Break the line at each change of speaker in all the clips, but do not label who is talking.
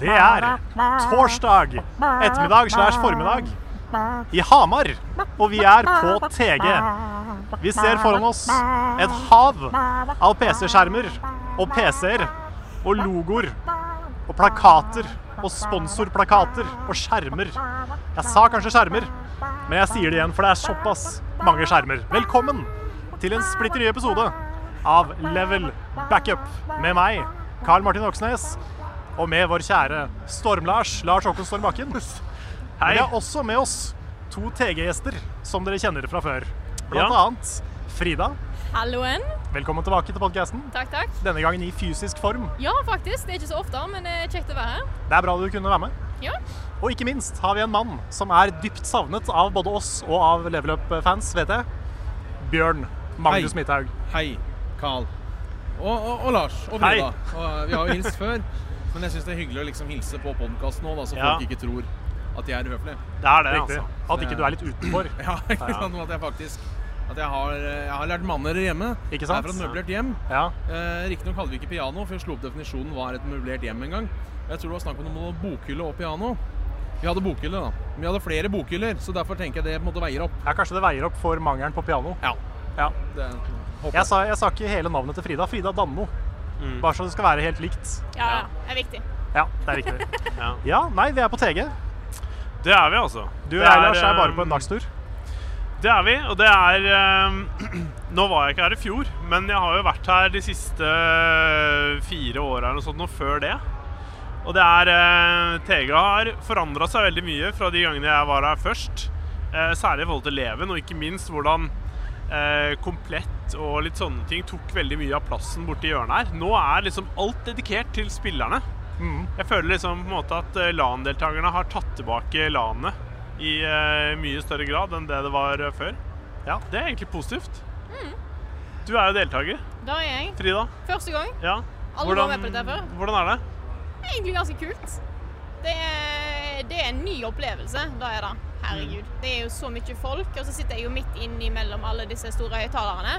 Det er torsdag ettermiddag slash formiddag i Hamar, og vi er på TG. Vi ser foran oss et hav av PC-skjermer og PC-er og logoer og plakater og sponsorplakater og skjermer. Jeg sa kanskje skjermer, men jeg sier det igjen, for det er såpass mange skjermer. Velkommen til en splitter ny episode av Level Backup med meg, Karl Martin Oksnes, og med vår kjære Storm-Lars, Lars Håkon Storm Bakken. Hei. Vi har også med oss to TG-gjester som dere kjenner fra før. Blant
Ja.
annet Frida.
Halloen.
Velkommen tilbake til podcasten.
Takk, takk.
Denne gangen i fysisk form.
Ja, faktisk. Det er ikke så ofte, men eh, kjekt å være her.
Det er bra du kunne være med.
Ja.
Og ikke minst har vi en mann som er dypt savnet av både oss og av Level Up-fans, vet jeg. Bjørn Magnus
Hei.
Midthaug.
Hei, Carl. Og, og, og Lars. Og
Hei.
Frida. Og, eh, vi har jo hilst før, men jeg syns det er hyggelig å liksom hilse på podkasten nå, da, så
Ja.
folk ikke tror at jeg er høflig.
Det er det,
Riktig.
altså.
At ikke du er litt utenfor.
Ja, ikke
Ja.
sant? At jeg faktisk At jeg har, eh, jeg har lært manner hjemme.
Ikke sant?
Jeg er fra et møblert hjem.
Ja.
Eh, Riktignok hadde vi ikke piano, for jeg slo opp definisjonen hva er et møblert hjem en gang. Jeg tror det var snakk om noe bokhylle og piano. Vi hadde bokhylle, da. Men vi hadde flere bokhyller, så derfor tenker jeg det på en måte veier opp.
ja, kanskje det veier opp for mangelen på piano.
Ja.
Ja.
Det håper
Jeg sa, jeg sa ikke hele navnet til Frida. Frida Danmo.
Mm.
Bare så det skal være helt likt.
Ja, ja. Det er viktig.
Ja, det er riktig.
Ja.
Ja, nei, vi er på TG.
Det er vi, altså.
Du
Det
og jeg, Lars, er bare på
um,
en dagstur.
Det er vi, og det er um, Nå var jeg ikke her i fjor, men jeg har jo vært her de siste eh, fire åra eller noe sånt, og før det. Og det er uh, TG har forandra seg veldig mye fra de gangene jeg var her først. Eh, særlig i forhold til Leven, og ikke minst hvordan eh, komplett og litt sånne ting tok veldig mye av plassen borti hjørnet her. Nå er liksom alt dedikert til spillerne.
Mm.
Jeg føler liksom på en måte at eh, LAN-deltakerne har tatt tilbake LAN-et i eh, mye større grad enn det det var eh, før.
Ja.
Det er egentlig positivt.
Mm.
Du er jo deltaker,
Da er jeg.
Frida.
Første gang.
Ja.
Aldri vært med på dette før.
hvordan er det?
Det er egentlig ganske kult. Det er, det er en ny opplevelse. Da er det.
Mm.
Herregud. Det er jo så mye folk, og så sitter jeg jo midt inni mellom alle disse store høyttalerne.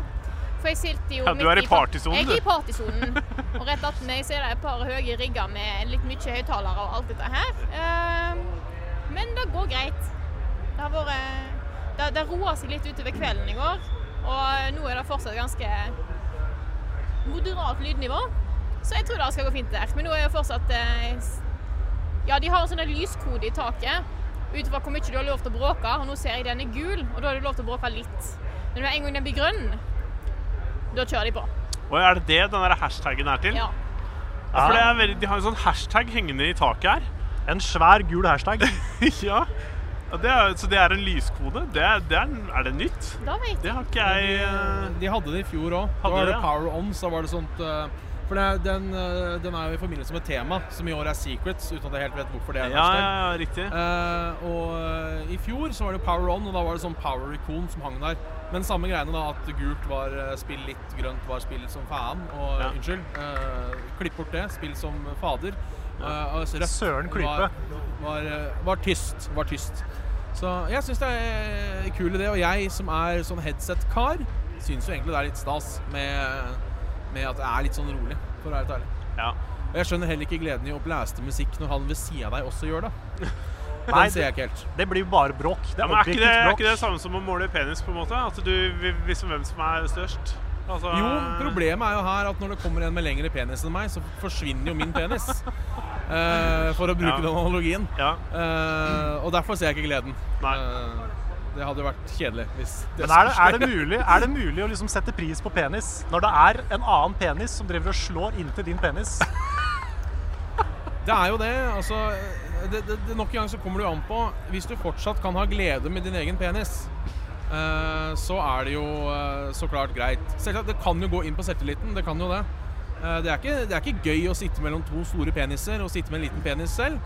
For jeg sitter jo
Ja, du
midt
er i
par-
partysonen,
Jeg
du.
er i partysonen. Og rett attmed meg så er det et par høye rigger med litt mye høyttalere og alt dette her. Ehm, Men det går greit. Det har vært Det, det roa seg litt utover kvelden i går, og nå er det fortsatt ganske moderat lydnivå. Så jeg tror det skal gå fint der. Men nå er det fortsatt eh, s- Ja, de har en sånn lyskode i taket ut fra hvor mye du har lov til å bråke, og nå ser jeg den er gul, og da har du lov til å bråke litt. Men med en gang den blir grønn, da kjører de på.
Og er det det den der hashtagen er til?
Ja.
Ja, For det er veldig, de har en sånn hashtag hengende i taket her.
En svær gul hashtag.
ja. Ja, Det er, så det er en lyskode? Det er, det er, er det nytt?
Da vet
Det
jeg.
har ikke jeg eh,
De hadde det i fjor òg. Da
Hadde
var
de
det
det?
Power Ons. Da var det sånt eh, For det, er- den, eh, den er jo i forbindelse med tema, som i år er Secrets, uten at jeg helt vet hvorfor det
Ja,
er. en
ja,
hashtag.
ja, riktig.
Eh, og eh, i fjor så var det Power On, og da var det sånn Power Icon som hang der. Men samme greiene, da, at gult var eh, spill litt, grønt var spill som faen. Og
Ja.
unnskyld. eh, klipp bort det. Spill som fader. Eh, og rødt
Søren klype.
Var, var, eh, var tyst. Var tyst. Så jeg syns det er en kul idé, og jeg som er sånn headset-kar, syns jo egentlig det er litt stas med, med at det er litt sånn rolig, for å være helt ærlig.
Ja.
Og jeg skjønner heller ikke gleden i å blæste musikk når han ved sida av deg også gjør det.
Nei,
Den ser jeg ikke helt.
Det blir jo bare bråk. Det
Ja,
er
men er ikke, det,
objektivt
er
bråk.
ikke det samme som å måle penis, på en måte? At du vil vise hvem som er størst? Altså,
Jo, problemet er jo her at når det kommer en med lengre penis enn meg, så forsvinner jo min penis. Eh, for å bruke
Ja.
den analogien.
Ja.
Eh, og derfor ser jeg ikke gleden.
Nei.
Eh, det hadde jo vært kjedelig hvis det
Men er det, er, det mulig, er det mulig å liksom sette pris på penis når det er en annen penis som driver og slår inntil din penis?
Det er jo det. Altså, det, det, det, nok en gang så kommer det jo an på Hvis du fortsatt kan ha glede med din egen penis, eh, så er det jo eh, så klart greit. Selvsagt, det kan jo gå inn på selvtilliten. Det kan jo det. Eh, det, er ikke, det er ikke gøy å sitte mellom to store peniser og sitte med en liten penis selv.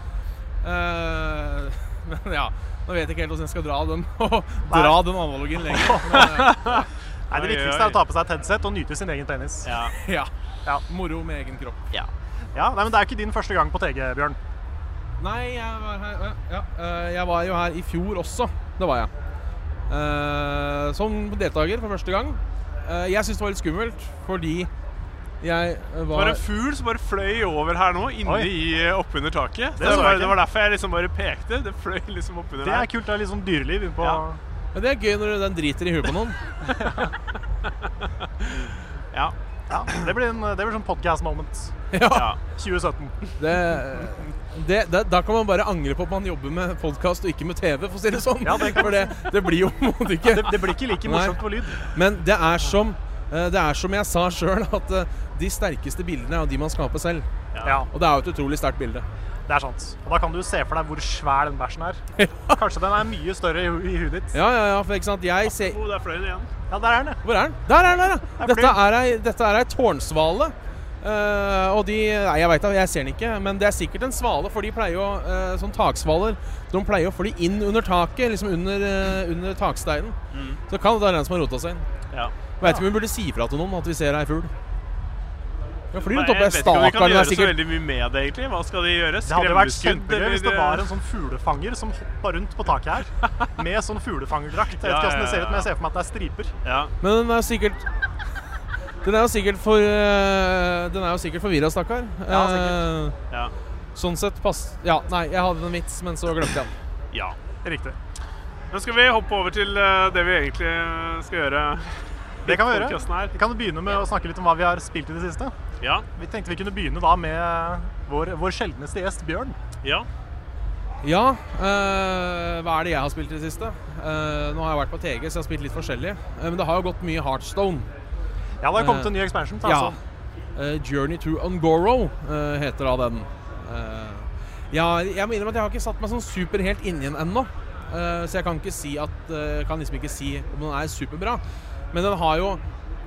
Eh, men ja Nå vet jeg ikke helt hvordan jeg skal dra den, dra den analogien lenger. Men,
Nei, Det viktigste er å ta på seg et headset og nyte sin egen penis.
Ja.
eh, ja.
Ja.
Moro med egen kropp.
Ja, nei, men Det er ikke din første gang på TG, Bjørn.
Nei, jeg var her øh, ja, øh, Jeg var jo her i fjor også. Det var jeg. Eh, som deltaker for første gang. Eh, jeg syns det var litt skummelt fordi jeg
Det var
var
en fugl som bare fløy over her nå, inne
Oi.
i eh, oppunder taket.
Det
Det,
så
var,
jeg ikke.
det var derfor jeg liksom bare pekte. Det fløy liksom oppunder
Det er
der.
kult. Det er litt sånn dyreliv på
Ja.
Men Det er gøy når den driter i huet på noen.
Ja.
Ja, det blir, en, det blir sånn podcast moment.
ja,
ja.
2017.
det, det, det, da kan man bare angre på at man jobber med podkast og ikke med TV, for å si det sånn.
Ja, det kan
for det, det blir jo på en måte ikke
Det, det blir ikke like morsomt
Nei.
på lyd.
Men det er som, eh, det er som jeg sa sjøl, at eh, de sterkeste bildene er jo de man skaper selv.
Ja,
Og det er jo et utrolig sterkt bilde.
det er sant. Og da kan du se for deg hvor svær den bæsjen er. Kanskje den er mye større i, hu- i huet ditt.
Ja, ja, ja, for ikke sant, jeg ser
Oh, der fløy den igjen.
Ja, der er den, ja.
Hvor er den? Der er den, der, ja!
Der flyr
Dette er ei, dette er ei tårnsvale. Eh, og de Nei, jeg veit da, jeg ser den ikke, men det er sikkert en svale, for de pleier jo eh, Sånn taksvaler, de pleier å fly inn under taket, liksom under, eh, under taksteinen.
Mm.
Så kan det være den som har rota seg inn.
Ja.
Veit ikke om vi burde si fra til noen at vi ser ei fugl. Ja, flyr
Nei,
rundt oppe.
jeg vet ikke om de kan
Stakaren
gjøre
er
så
sikkert
veldig mye med det, egentlig. Hva skal de gjøre?
Det hadde jo vært
Skremmes
kjempegøy hvis det
eller-
var en sånn fuglefanger som hoppa rundt på taket her med sånn fuglefangerdrakt. Jeg vet
Ja,
ikke hvordan det
ja,
ser ut,
ja.
men jeg ser for meg at det er striper.
ja.
Men den er jo sikkert Den er jo sikkert for øh, Den er jo sikkert forvirra, stakkar.
Ja,
Eh,
Ja.
sånn sett pass... Ja, nei, jeg hadde en vits, men så glemte jeg den.
ja.
Riktig.
Nå skal vi hoppe over til eh, det vi egentlig eh, skal gjøre.
Det kan vi gjøre.
Podcasten her.
Vi kan begynne med å snakke litt om hva vi har spilt i det siste.
Ja.
Vi tenkte vi kunne begynne da med vår, vår sjeldneste gjest, Bjørn.
ja.
Ja, øh, hva er det jeg har spilt i det siste? Eh, nå har jeg vært på TG, så jeg har spilt litt forskjellig. Eh, men det har jo gått mye Heartstone.
Ja, det har kommet en ny expansion. til, Altså.
Eh, Journey to Ungoro eh, heter da den. Eh, ja, jeg må innrømme at jeg har ikke satt meg sånn super helt inni den ennå. Eh, så jeg kan ikke si at eh, kan liksom ikke si om den er superbra. Men den har jo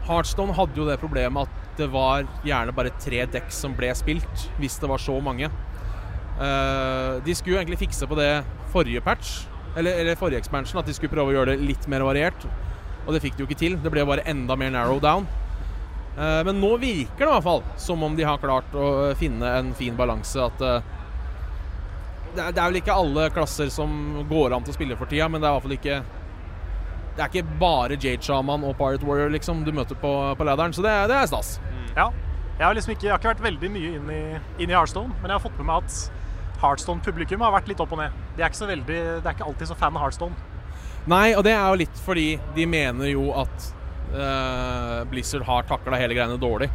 Heartstone hadde jo det problemet at det var gjerne bare tre dekk som ble spilt, hvis det var så mange. Eh, de skulle jo egentlig fikse på det forrige patch, eller, eller forrige expansion, at de skulle prøve å gjøre det litt mer variert. Og det fikk de jo ikke til. Det ble bare enda mer narrow down. Eh, Men nå virker det i hvert fall som om de har klart å eh, finne en fin balanse. At eh, det er, det er vel ikke alle klasser som går an til å spille for tida, men det er i hvert fall ikke Det er ikke bare Jade Shaman og Pirate Warrior liksom du møter på, på ladderen, så det, er- det er stas.
Ja. Jeg har liksom ikke, jeg har ikke vært veldig mye inn i, inn i Heartstone, men jeg har fått med meg at Heartstone-publikum har vært litt opp og ned. De er ikke, så veldig, de er ikke alltid så fan av Heartstone.
Nei, og det er jo litt fordi de mener jo at eh, Blizzard har takla hele greiene dårlig.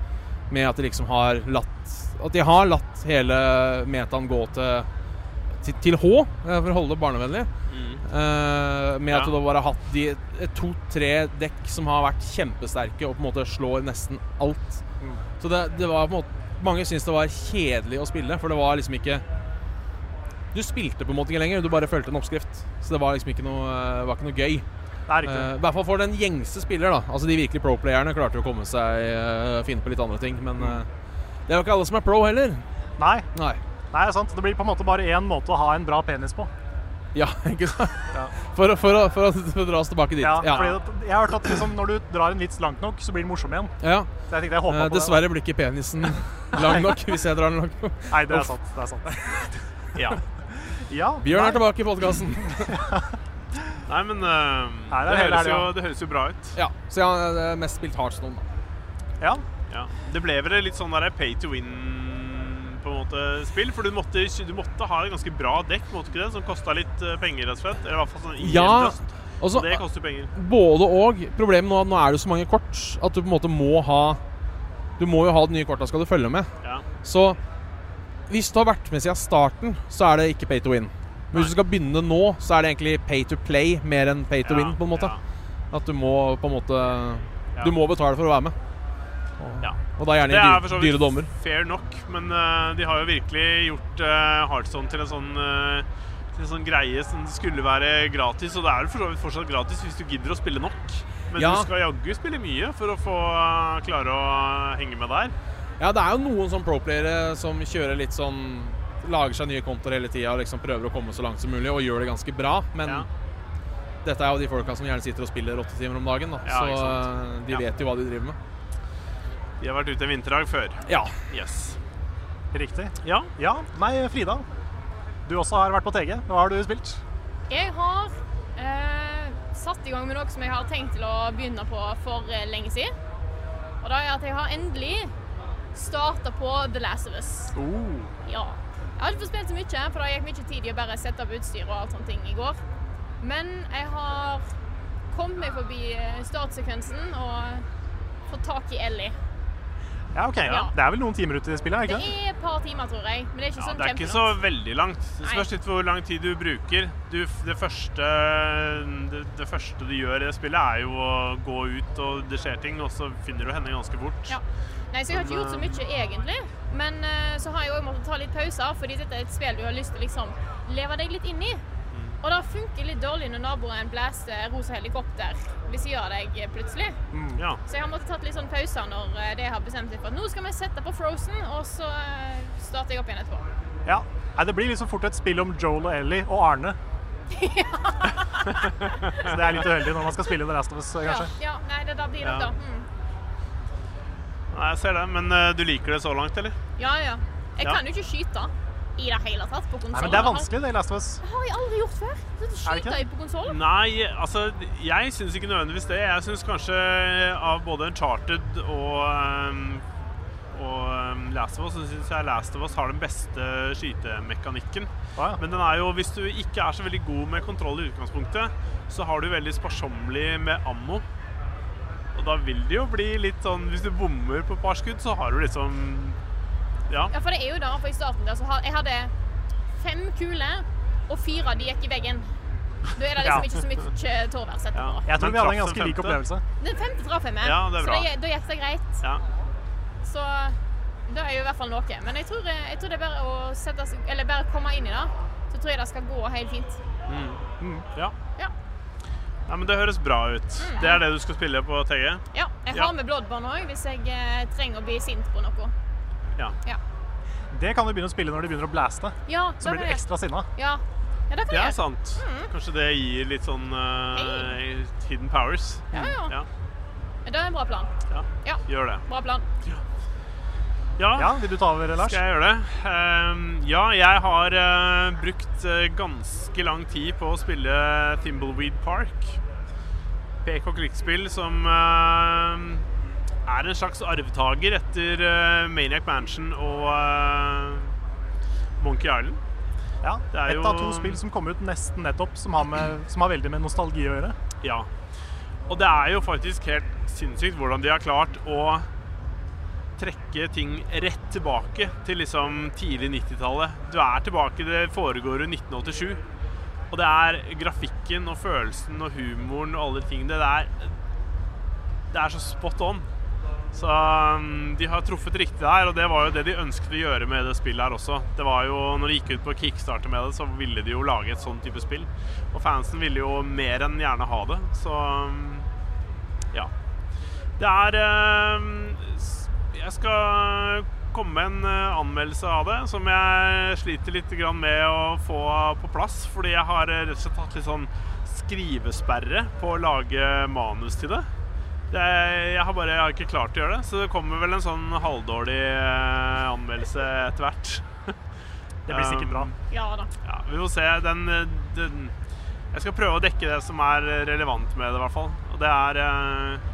Med at de liksom har latt At de har latt hele metaen gå til, til, til H, eh, for å holde det barnevennlig. Eh, med at
Ja.
du da bare har hatt de eh, to-tre dekk som har vært kjempesterke og på en måte slår nesten alt. Så det, det var på en måte Mange syntes det var kjedelig å spille, for det var liksom ikke Du spilte på en måte ikke lenger, du bare fulgte en oppskrift. Så det var liksom ikke noe, eh, var ikke noe gøy.
Det er riktig.
Eh, I hvert fall for den gjengse spiller, da. Altså De virkelig pro-playerne klarte jo å komme seg eh, finne på litt andre ting,
Mm.
men eh, det er jo ikke alle som er pro heller.
Nei,
Nei.
nei, det er sant. Det blir på en måte bare én måte å ha en bra penis på.
Ja, ikke sant?
Ja.
For, å- for, å- for, å- for å dra oss tilbake dit.
Ja, Fordi det, jeg har hørt at liksom, når du drar en vits langt nok, så blir den morsom igjen.
ja.
Så jeg tenkte jeg håpa
Eh,
på
dessverre blir ikke penisen lang nok hvis jeg drar den lang nok.
det. Nei, det er
Uff.
sant. Det er sant.
ja.
Ja,
Bjørn er
nei,
tilbake i podkasten.
Nei, men eh,
Her er
det,
hele
høres jo,
helga.
det høres jo bra ut.
Ja, så jeg har eh, mest spilt Heartstone, da.
Ja.
Ja. Det ble vel litt sånn der pay to win på en måte spill, for du måtte, du måtte ha et ganske bra dekk, måtte ikke det? Som kosta litt eh, penger, rett og slett. Eller i hvert fall sånn i
Ja,
helt øst.
og så
Det koster jo penger.
både og. Problemet nå er at nå er det jo så mange kort at du på en måte må ha Du må jo ha de nye korta skal du følge med.
Ja.
Så hvis du har vært med siden starten, så er det ikke pay to win. Men hvis du skal begynne nå, så er det egentlig pay to play mer enn pay to
Ja,
win, på en måte.
ja.
At du må på en måte Du må betale for å være med. Og,
Ja.
og da gjerne
Det
i
er for så
dyre,
vidt
dyre dommer.
fair nok, men eh, de har jo virkelig gjort uh, Heartstone til en sånn eh, til en sånn greie som skulle være gratis, og det er jo for så vidt fortsatt gratis hvis du gidder å spille nok. Men
Ja.
du skal jaggu spille mye for å få eh, klare å henge med der.
Ja, det er jo noen sånn pro-playere som kjører litt sånn Lager seg nye kontoer hele tida og liksom prøver å komme så langt som mulig, og gjør det ganske bra, men
Ja.
dette er jo de folka som gjerne sitter og spiller åtte timer om dagen, da.
Ja, ikke
så
sant.
eh, de
Ja.
vet jo hva de driver med.
De har vært ute en vinterdag før.
Ja.
Yes.
Riktig.
Ja.
Ja. Nei, Frida. Du også har vært på TG. Hva har du spilt?
Jeg har eh, satt i gang med noe som jeg har tenkt til å begynne på for eh, lenge siden. Og det er at jeg har endelig starta på The Last of Us.
Oh.
Ja. Jeg har ikke fått spilt så mye, for det gikk mye tid i å bare sette opp utstyr og alt sånne ting i går. Men jeg har kommet meg forbi eh, startsekvensen og fått tak i Ellie.
Ja, ok.
Ja.
Det er vel noen timer ute i det spillet? er
Det
det ikke det?
er et par timer, tror jeg. Men det er ikke
Ja,
sånn
det er ikke så
kjempelangt.
veldig langt. Det spørs
Nei.
litt hvor lang tid du bruker. Du, det, første, det, det første du gjør i det spillet, er jo å gå ut, og det skjer ting, og så finner du henne ganske fort.
Ja. Nei, så jeg har ikke gjort så mye egentlig. Men eh, så har jeg òg måttet ta litt pauser, fordi dette er et spill du har lyst til å liksom leve deg litt inn i.
Mm.
Og det funker litt dårlig når naboen blæser rosa helikopter ved siden av deg eh, plutselig.
Mm.
Ja.
Så jeg har måttet tatt litt sånn pauser når eh, det har bestemt seg for at nå skal vi sette på Frozen, og så eh, starter jeg opp igjen etterpå.
Ja. Nei, det blir liksom fort et spill om Joel og Ellie og Arne. så det er litt uheldig når man skal spille The Last of Us,
Ja,
kanskje.
ja, nei, det da blir det
Ja.
da. Mm.
Nei, jeg ser det, men eh, du liker det så langt, eller?
Ja, ja. Jeg
Ja.
kan jo ikke skyte i det hele tatt på konsollen.
Nei, men det er vanskelig, det, i Last of Us.
Det har jeg aldri gjort før.
Er
Så
det ikke
Skyter jeg på konsollen?
Nei, altså jeg syns ikke nødvendigvis det. Jeg syns kanskje eh, av både Uncharted og ehm, og ehm, Last of Us, så syns jeg Last of Us har den beste skytemekanikken.
Å, ja.
Men den er jo, hvis du ikke er så veldig god med kontroll i utgangspunktet, så har du veldig sparsommelig med ammo. Og da vil det jo bli litt sånn Hvis du bommer på et par skudd, så har du liksom Ja.
Ja, for det er jo da, for i starten der så har, jeg hadde fem kuler, og fire av de gikk i veggen. Da er det
Ja.
liksom ikke så mye tårværs etterpå.
Ja.
Jeg tror
Men
vi hadde en
traff den
ganske lik
femte.
opplevelse.
Den femte traff jeg med,
Ja, det er
så
bra.
da gikk det greit.
ja.
Så det er jo i hvert fall noe. Men jeg tror, jeg tror det er bare å sette seg, eller bare komme inn i det, så tror jeg det skal gå helt fint.
Mm. ja.
Ja.
Nei, men det høres bra ut.
Mm.
Det er det du skal spille på TG?
Ja, jeg
Ja.
har med Bloodborne òg, hvis jeg eh, trenger å bli sint på noe.
Ja.
Ja,
Det kan du begynne å spille når de begynner å blaste.
ja
Så
det
blir
kan
du
jeg.
ekstra sinna.
Ja, ja Mm. det kan
Det
jeg.
er sant. Kanskje det gir litt sånn eh, hidden powers.
Ja, ja.
Ja,
Det er en bra plan.
ja.
Ja,
Gjør det.
bra plan.
Ja,
Ja, vil du ta over, Lars?
skal jeg gjøre det? Ehm, ja, jeg har eh, brukt eh, ganske lang tid på å spille Thimbleweed Park. PK Klikkspill som eh, er en slags arvtaker etter eh, Maniac Mansion og eh, Monkey Island.
Ja.
Det er
Ett av
jo-
to spill som kom ut nesten nettopp, som har, med, som har veldig med nostalgi å gjøre.
Ja. Og det er jo faktisk helt sinnssykt hvordan de har klart å trekke ting rett tilbake til liksom tidlig 90-tallet. Du er tilbake, det foregår jo 1987. Og det er grafikken og følelsen og humoren og alle de tingene det er Det er så spot on. Så um, de har truffet riktig der, og det var jo det de ønsket å gjøre med det spillet her også. Det var jo, når de gikk ut på kickstarter med det, så ville de jo lage et sånn type spill. Og fansen ville jo mer enn gjerne ha det, så um, ja. Det er um, s- Jeg skal komme med en uh, anmeldelse av det, som jeg sliter litt grann med å få på plass, fordi jeg har uh, rett og slett hatt litt sånn skrivesperre på å lage manus til det. Det, jeg har bare jeg har ikke klart å gjøre det, så det kommer vel en sånn halvdårlig eh, anmeldelse etter hvert.
Det blir sikkert bra.
Um,
Ja da.
Ja, vi får se. Den, eh, den Jeg skal prøve å dekke det som er relevant med det, i hvert fall. Og det er eh,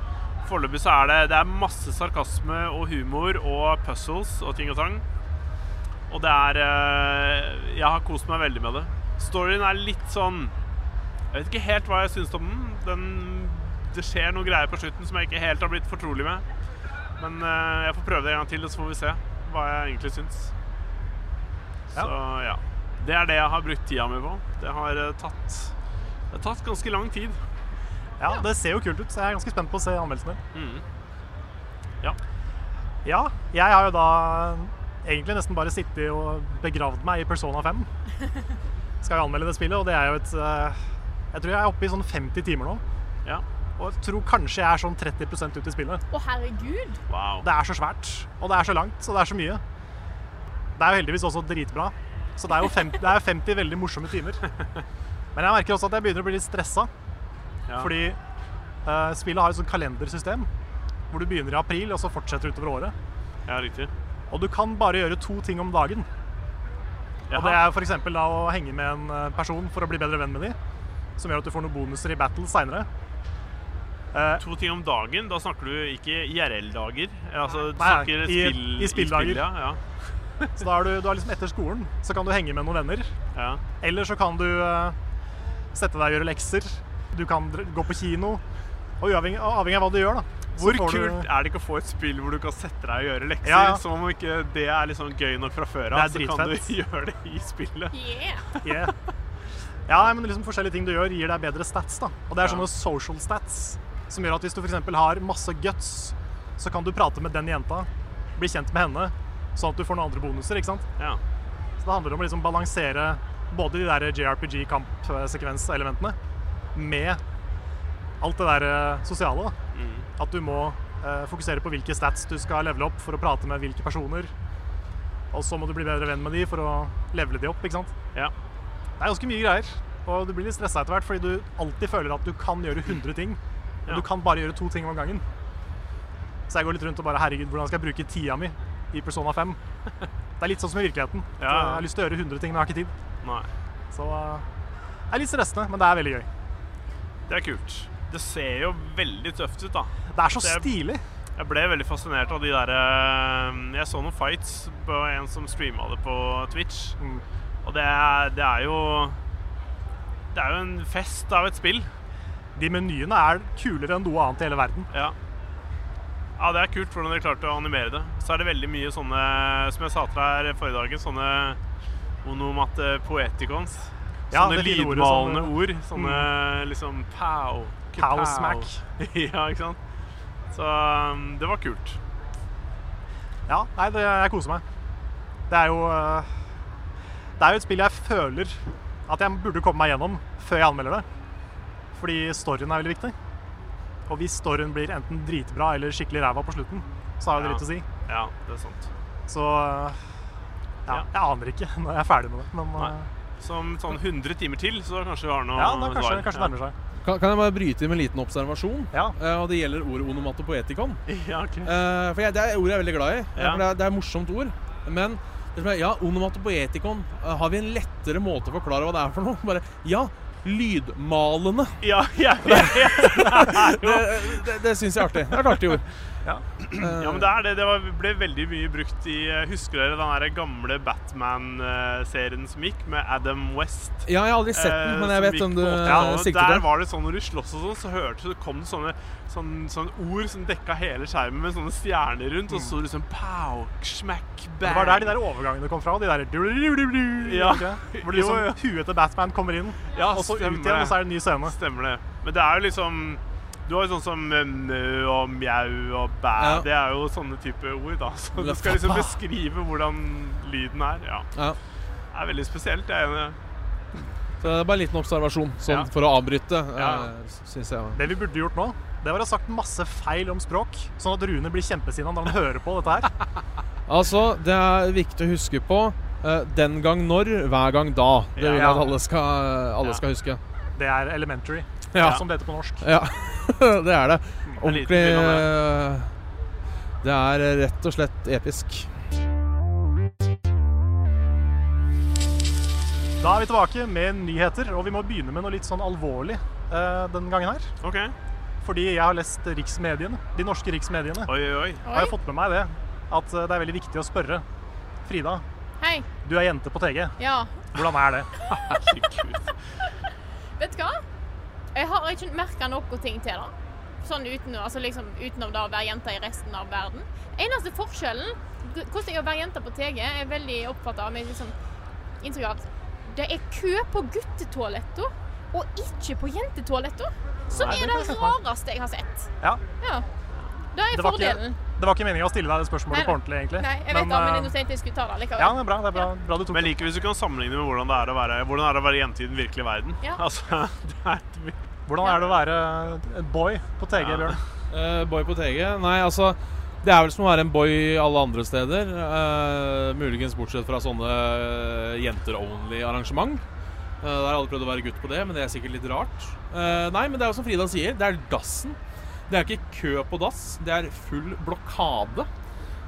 Foreløpig så er det, det er masse sarkasme og humor og puzzles og ting og tang. Og det er eh, Jeg har kost meg veldig med det. Storyen er litt sånn Jeg vet ikke helt hva jeg syns om den. den. Det skjer noe greier på slutten som jeg ikke helt har blitt fortrolig med. Men eh, jeg får prøve det en gang til, og så får vi se hva jeg egentlig syns.
Ja.
Så ja. Det er det jeg har brukt tida mi på. Det har eh, tatt Det har tatt ganske lang tid.
Ja, Det ser jo kult ut, så jeg er ganske spent på å se anmeldelsen din.
Mm. Ja.
Ja, jeg har jo da egentlig nesten bare sittet og begravd meg i Persona 5. Skal jo anmelde det spillet, og det er jo et eh, Jeg tror jeg er oppe i sånn 50 timer nå.
ja.
Og jeg tror kanskje jeg er sånn 30 ut i spillet.
Å, herregud.
Wow.
Det er så svært, og det er så langt, og det er så mye. Det er jo heldigvis også dritbra. Så det er jo 50, det er jo 50 veldig morsomme timer. Men jeg merker også at jeg begynner å bli litt stressa,
ja.
fordi eh, spillet har et sånt kalendersystem hvor du begynner i april, og så fortsetter utover året.
Ja, riktig.
Og du kan bare gjøre to ting om dagen. Og det er f.eks. da å henge med en eh, person for å bli bedre venn med de, som gjør at du får noen bonuser i battle seinere.
To ting om dagen. Da snakker du ikke IRL-dager. Altså, du
Nei,
snakker
i-
spill,
i spilldager.
spill, ja. ja.
Så da er du, du er liksom etter skolen, så kan du henge med noen venner.
ja.
Eller så kan du eh, sette deg og gjøre lekser. Du kan dr- gå på kino. Og uavhengig, avhengig av hva du gjør, da.
Hvor
får
kult
du-
er det ikke å få et spill hvor du kan sette deg og gjøre lekser?
Ja, ja.
Som om ikke det er liksom gøy nok fra før av, så
Det er
kan
dritfett.
du gjøre det i spillet.
Yeah.
Yeah. Ja, nei, men liksom forskjellige ting du gjør, gir deg bedre stats. da. Og det er
Ja.
sånne social stats som gjør at hvis du f.eks. har masse guts, så kan du prate med den jenta, bli kjent med henne, sånn at du får noen andre bonuser. ikke sant?
Ja.
Så det handler om å liksom balansere både de der JRPG-kampsekvenselementene med alt det der eh, sosiale. da.
Mm.
At du må eh, fokusere på hvilke stats du skal levele opp for å prate med hvilke personer. Og så må du bli bedre venn med de for å levele de opp, ikke sant?
ja.
Det er ganske mye greier. Og du blir litt stressa etter hvert, fordi du alltid føler at du kan gjøre 100 ting. Men
Ja.
du kan bare gjøre to ting om gangen. Så jeg går litt rundt og bare Herregud, hvordan skal jeg bruke tida mi i Persona 5? Det er litt sånn som i virkeligheten. Så
Ja.
Jeg har lyst til å gjøre 100 ting, men jeg har ikke tid.
Nei.
Så eh, det er litt stressende, men det er veldig gøy.
Det er kult. Det ser jo veldig tøft ut, da.
Det er så
Det er-
stilig.
Jeg ble veldig fascinert av de der eh, Jeg så noen fights på en som streama det på Twitch.
Mm.
Og det er, det er jo Det er jo en fest av et spill.
De menyene er kulere enn noe annet i hele verden.
Ja. ja, det er kult hvordan dere klarte å animere det. Så er det veldig mye sånne, som jeg sa til deg her forrige dagen, sånne onomate poeticons.
Ja,
sånne
det fine ordet,
lydmalende
sånne- Mm.
ord. Sånne liksom pow.
Pow,
kapow.
smack.
ja, ikke sant? Så um, det var kult.
Ja, nei, det, jeg koser meg. Det er jo eh, Det er jo et spill jeg føler at jeg burde komme meg gjennom før jeg anmelder det. Fordi storyen er veldig viktig. Og hvis storyen blir enten dritbra eller skikkelig ræva på slutten, så har jo det
Ja.
litt å si.
Ja, det er sant.
Så eh, ja,
Ja.
jeg aner ikke når jeg er ferdig med det, men eh,
Nei. Som sånn 100 timer til, så kanskje vi har noe
ja, da kanskje,
svar.
kanskje det nærmer seg.
Kan, kan jeg bare bryte inn med en liten observasjon?
Ja.
Eh, og det gjelder ordet onomatopoetikon.
Ja, ok.
Eh, for jeg, det er et ord jeg er veldig glad i.
Ja.
For det, er, det er et morsomt ord. Men det som er- ja, onomatopoetikon eh, Har vi en lettere måte å forklare hva det er for noe? Bare, ja, lydmalende.
Ja, ja, ja, ja.
Det, det, det syns jeg er artig. Det er et artig ord.
Ja, men det er det. Det var, ble veldig mye brukt i eh, Husker dere den der gamle Batman-serien som gikk, med Adam West?
Ja, jeg har aldri sett den,
Eh,
men
som
jeg vet
gikk
hvem du
på 80-tallet.
eh, sikter
Der
til.
var det sånn når du sloss og sånn, så hørte du det kom sånne, sånn- sånne ord som dekka hele skjermen med sånne stjerner rundt, og så sto det sånn pow, smack, bang.
Mm. Det var der de der overgangene kom fra. De der du-du-du-du-du,
Ja.
ikke? Hvor
Jo,
liksom
ja.
huet til Batman kommer inn,
Ja,
og så ut
stemmer
igjen, og
det.
så er det en ny scene.
Stemmer det. Men det er jo liksom Du har jo sånn som eh, mø og mjau og bæ.
Ja.
Det er jo sånne type ord, da. Så du skal liksom beskrive hvordan lyden er. Ja.
Ja.
Det er veldig spesielt. Jeg er enig.
Så det er bare en liten observasjon, sånn
Ja.
for å avbryte, uh,
Ja.
syns jeg.
Det vi burde gjort nå, det var å ha sagt masse feil om språk, sånn at Rune blir kjempesinna når han hører på dette her.
Altså, det er viktig å huske på eh, den gang når, hver gang da. Det vil jeg
Ja.
at alle skal, alle
Ja.
skal huske.
Det er elementary,
Ja.
som det heter på norsk.
ja. det er det.
En liten
Ordentlig
film om det.
eh, Det er rett og slett episk.
Da er vi tilbake med nyheter, og vi må begynne med noe litt sånn alvorlig eh, denne gangen her.
OK.
Fordi jeg har lest riksmediene, de norske riksmediene.
Oi, oi, oi.
Har jeg fått med meg det, at eh, det er veldig viktig å spørre. Frida,
Hei.
du er jente på TG.
Ja.
Hvordan er det?
Herregud.
Vet du hva? Jeg har ikke merka noe ting til det. Sånn uten, altså liksom, utenom det å være jente i resten av verden. Eneste forskjellen Hvordan jeg er å være jente på TG, er veldig oppfatta av med liksom, inntrykk av at det er kø på guttetoaletto og ikke på jentetoaletto. Som
Nei, det
er
kan
det
jeg se for
rareste jeg har sett.
Ja.
Ja.
Det
Det er
var ikke-
fordelen.
Det var ikke meningen å stille deg det spørsmålet
Nei,
på ordentlig, egentlig.
Nei, jeg vet det, men
eh,
jeg noe jeg skulle ta det likevel.
ja, det er bra. Det er bra, bra du tok
Men
det.
jeg liker hvis du kan sammenligne med hvordan det er å være, hvordan det er å være jente i den virkelige verden.
Ja.
Altså, det er et vir-
Hvordan er det å være en boy på TG,
Ja.
Bjørn?
Eh, boy på TG? Nei, altså Det er vel som å være en boy alle andre steder. eh, muligens bortsett fra sånne eh, jenter-only-arrangement. Eh, der har jeg aldri prøvd å være gutt på det, men det er sikkert litt rart. Eh, nei, men det er jo som Frida sier, det er dassen. Det er ikke kø på dass, det er full blokade.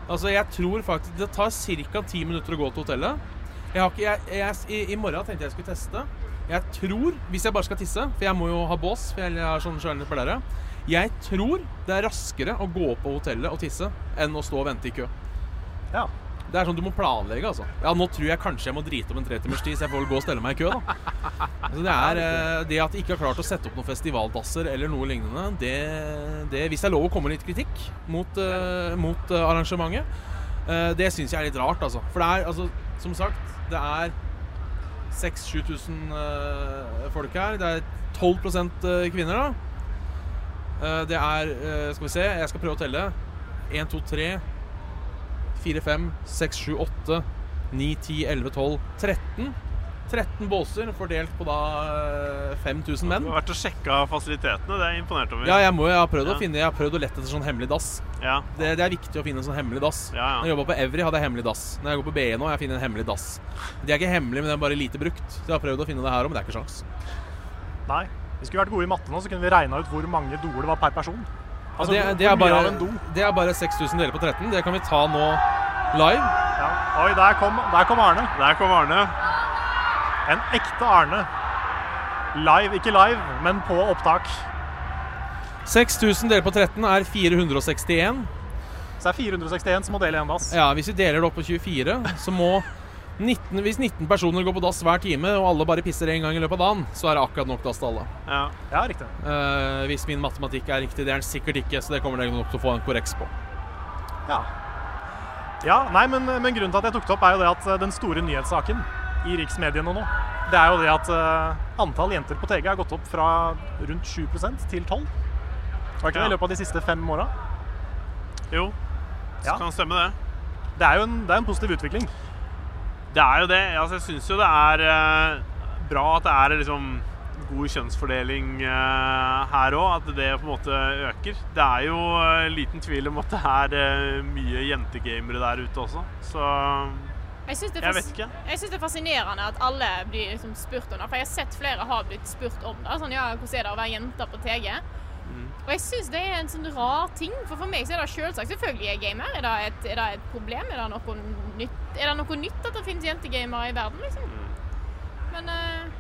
Altså, jeg tror faktisk Det tar ca. ti minutter å gå til hotellet. Jeg har ikke, jeg, jeg, i, I morgen tenkte jeg skulle teste. Jeg tror, hvis jeg bare skal tisse, for jeg må jo ha bås for jeg har sånn sjølende plære Jeg tror det er raskere å gå på hotellet og tisse enn å stå og vente i kø.
Ja.
Det er sånn du må planlegge, altså. Ja, nå tror jeg kanskje jeg må drite om en tretimers tid, så jeg får vel gå og stelle meg i kø, da. Altså, det er eh, det at de ikke har klart å sette opp noen festivaldasser eller noe lignende, det, det Hvis det er lov å komme med litt kritikk mot, eh, mot eh, arrangementet, eh, det syns jeg er litt rart, altså. For det er, altså, som sagt, det er 6000-7000 eh, folk her. Det er 12 eh, kvinner, da. Eh, det er eh, Skal vi se, jeg skal prøve å telle. 1, 2, 3, 4, 5, 6, 7, 8, 9, 10, 11, 12, 13. 13 båser fordelt på da eh, 5000
Du
menn.
har vært og sjekka fasilitetene. Det er jeg imponert over.
Ja, jeg, må, jeg har prøvd å
Ja.
finne Jeg har prøvd å lette etter sånn hemmelig dass.
ja.
Det, det er viktig å finne en sånn hemmelig dass.
Ja, ja.
Når jeg jobba på Evry, hadde jeg hemmelig dass. Når jeg går på BE nå, har jeg funnet en hemmelig dass. De er ikke hemmelige, men de er bare lite brukt. Så jeg har prøvd å finne det her òg, men det er ikke sjans.
Nei. Vi skulle vært gode i matte nå, så kunne vi regna ut hvor mange doer det var per person. Altså,
det,
hvor-
det, er
hvor mye
bare,
av en do.
det er bare 6000 deler på 13. Det kan vi ta nå live.
Ja. Oi, der kom, der kom Arne.
Der kom Arne.
En ekte Arne. Live, ikke live, men på opptak.
6000 deler på 13 er 461.
Så det er 461 som må dele en dass.
Ja, Hvis vi deler det opp på 24, så må 19, Hvis 19 personer går på dass hver time, og alle bare pisser én gang i løpet av dagen, så er det akkurat nok dass til alle.
Ja.
Ja, riktig.
Eh, hvis min matematikk er riktig, det er den sikkert ikke, så det kommer dere nok til å få en korreks på.
Ja. ja nei, men, men grunnen til at jeg tok det opp, er jo det at eh, den store nyhetssaken i riksmediene nå, det er jo det at eh, antall jenter på TG har gått opp fra rundt 7 til 12 Var ikke det
Ja.
i løpet av de siste fem åra?
Jo,
Ja.
kan stemme det.
Det er jo en, det er en positiv utvikling.
Det er jo det. Altså, jeg syns jo det er eh, bra at det er liksom god kjønnsfordeling eh, her òg. At det på en måte øker. Det er jo eh, liten tvil om at det er eh, mye jentegamere der ute også. Så
Jeg syns det, er
jeg
fas-
vet ikke.
jeg synes det er fascinerende at alle blir liksom spurt om det. For jeg har sett flere har blitt spurt om det. Sånn, ja, hvordan er det å være jente på TG? Og jeg syns det er en sånn rar ting. For for meg så er det selvsagt. Selvfølgelig er jeg gamer. Er det et, er det et problem? Er det, noe nytt? er det noe nytt at det finnes jentegamere i verden, liksom? Men eh,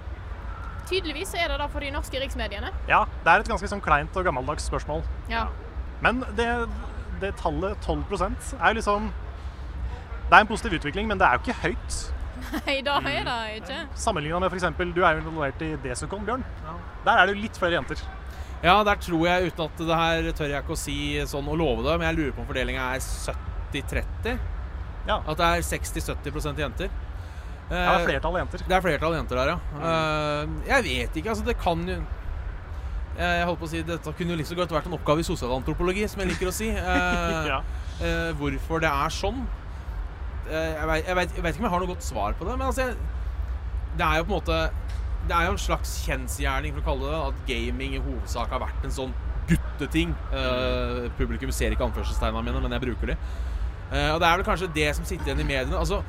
tydeligvis så er det det for de norske riksmediene.
Ja, det er et ganske sånn kleint og gammeldags spørsmål.
Ja.
Men det, det tallet 12 er jo liksom Det er en positiv utvikling, men det er jo ikke høyt.
Nei, da er det ikke.
Sammenligna med f.eks. Du er jo involvert i Desicon, Bjørn. Der er det jo litt flere jenter.
Ja, der tror jeg, uten at det her tør jeg ikke å si sånn og love det, men jeg lurer på om fordelinga er 70-30.
Ja.
At det er 60-70 jenter.
Ja,
Eh,
det er flertall av jenter.
Det er flertall jenter der, ja. Eh, jeg vet ikke, altså det kan jo Eh, jeg holdt på å si, Dette kunne jo liksom godt vært en oppgave i sosialantropologi, som jeg liker å si. Eh,
Ja.
eh, hvorfor det er sånn. Eh, jeg, vet, jeg, vet, jeg vet ikke om jeg har noe godt svar på det, men altså jeg, Det er jo på en måte Det er jo en slags kjensgjerning, for å kalle det det, at gaming i hovedsak har vært en sånn gutteting. Eh, publikum ser ikke anførselstegna mine, men jeg bruker de. Eh, og det er vel kanskje det som sitter igjen i mediene. Altså,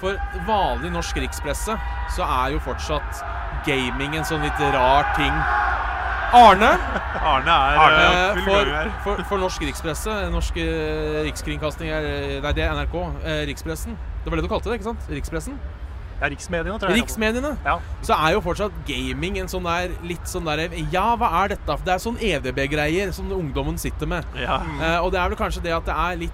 for vanlig norsk rikspresse så er jo fortsatt gaming en sånn litt rar ting. Arne?
Arne er
Eh,
Arne, full
for,
gang her.
for, for norsk rikspresse, norsk eh, rikskringkasting er eh, Nei, det er NRK. eh, Rikspressen. Det var det du kalte det, ikke sant? Rikspressen?
Ja, riksmediene, tror jeg.
Riksmediene.
Ja.
Så er jo fortsatt gaming en sånn der litt sånn der Ja, hva er dette? Det er sånn EDB-greier som ungdommen sitter med.
Ja.
Eh, og det er vel kanskje det at det er litt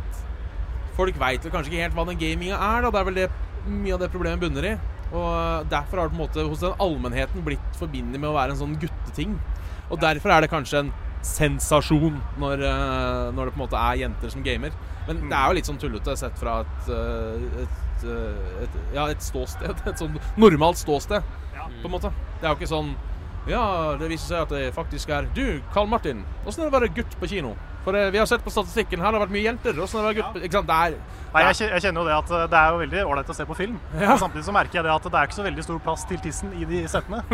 Folk veit vel kanskje ikke helt hva den gaminga er, da. Det er vel det mye av det problemet bunner i. Og eh, derfor har det på en måte hos den allmennheten blitt forbindet med å være en sånn gutteting. Og derfor er det kanskje en sensasjon når, eh, når det på en måte er jenter som gamer. Men det er jo litt sånn tullete sett fra et, eh, et, eh, et Ja, et ståsted. Et sånn normalt ståsted, på en måte. Det er jo ikke sånn ja, det viser seg at det faktisk er Du, Karl Martin, åssen er det å være gutt på kino? For eh, vi har sett på statistikken, her har det vært mye jenter. Åssen er det å være gutt på Ikke sant? Det
Nei, jeg, kje- jeg kjenner jo det at eh, det er jo veldig ålreit å se på film.
Ja.
Men Samtidig så merker jeg det at det er ikke så veldig stor plass til tissen i de settene.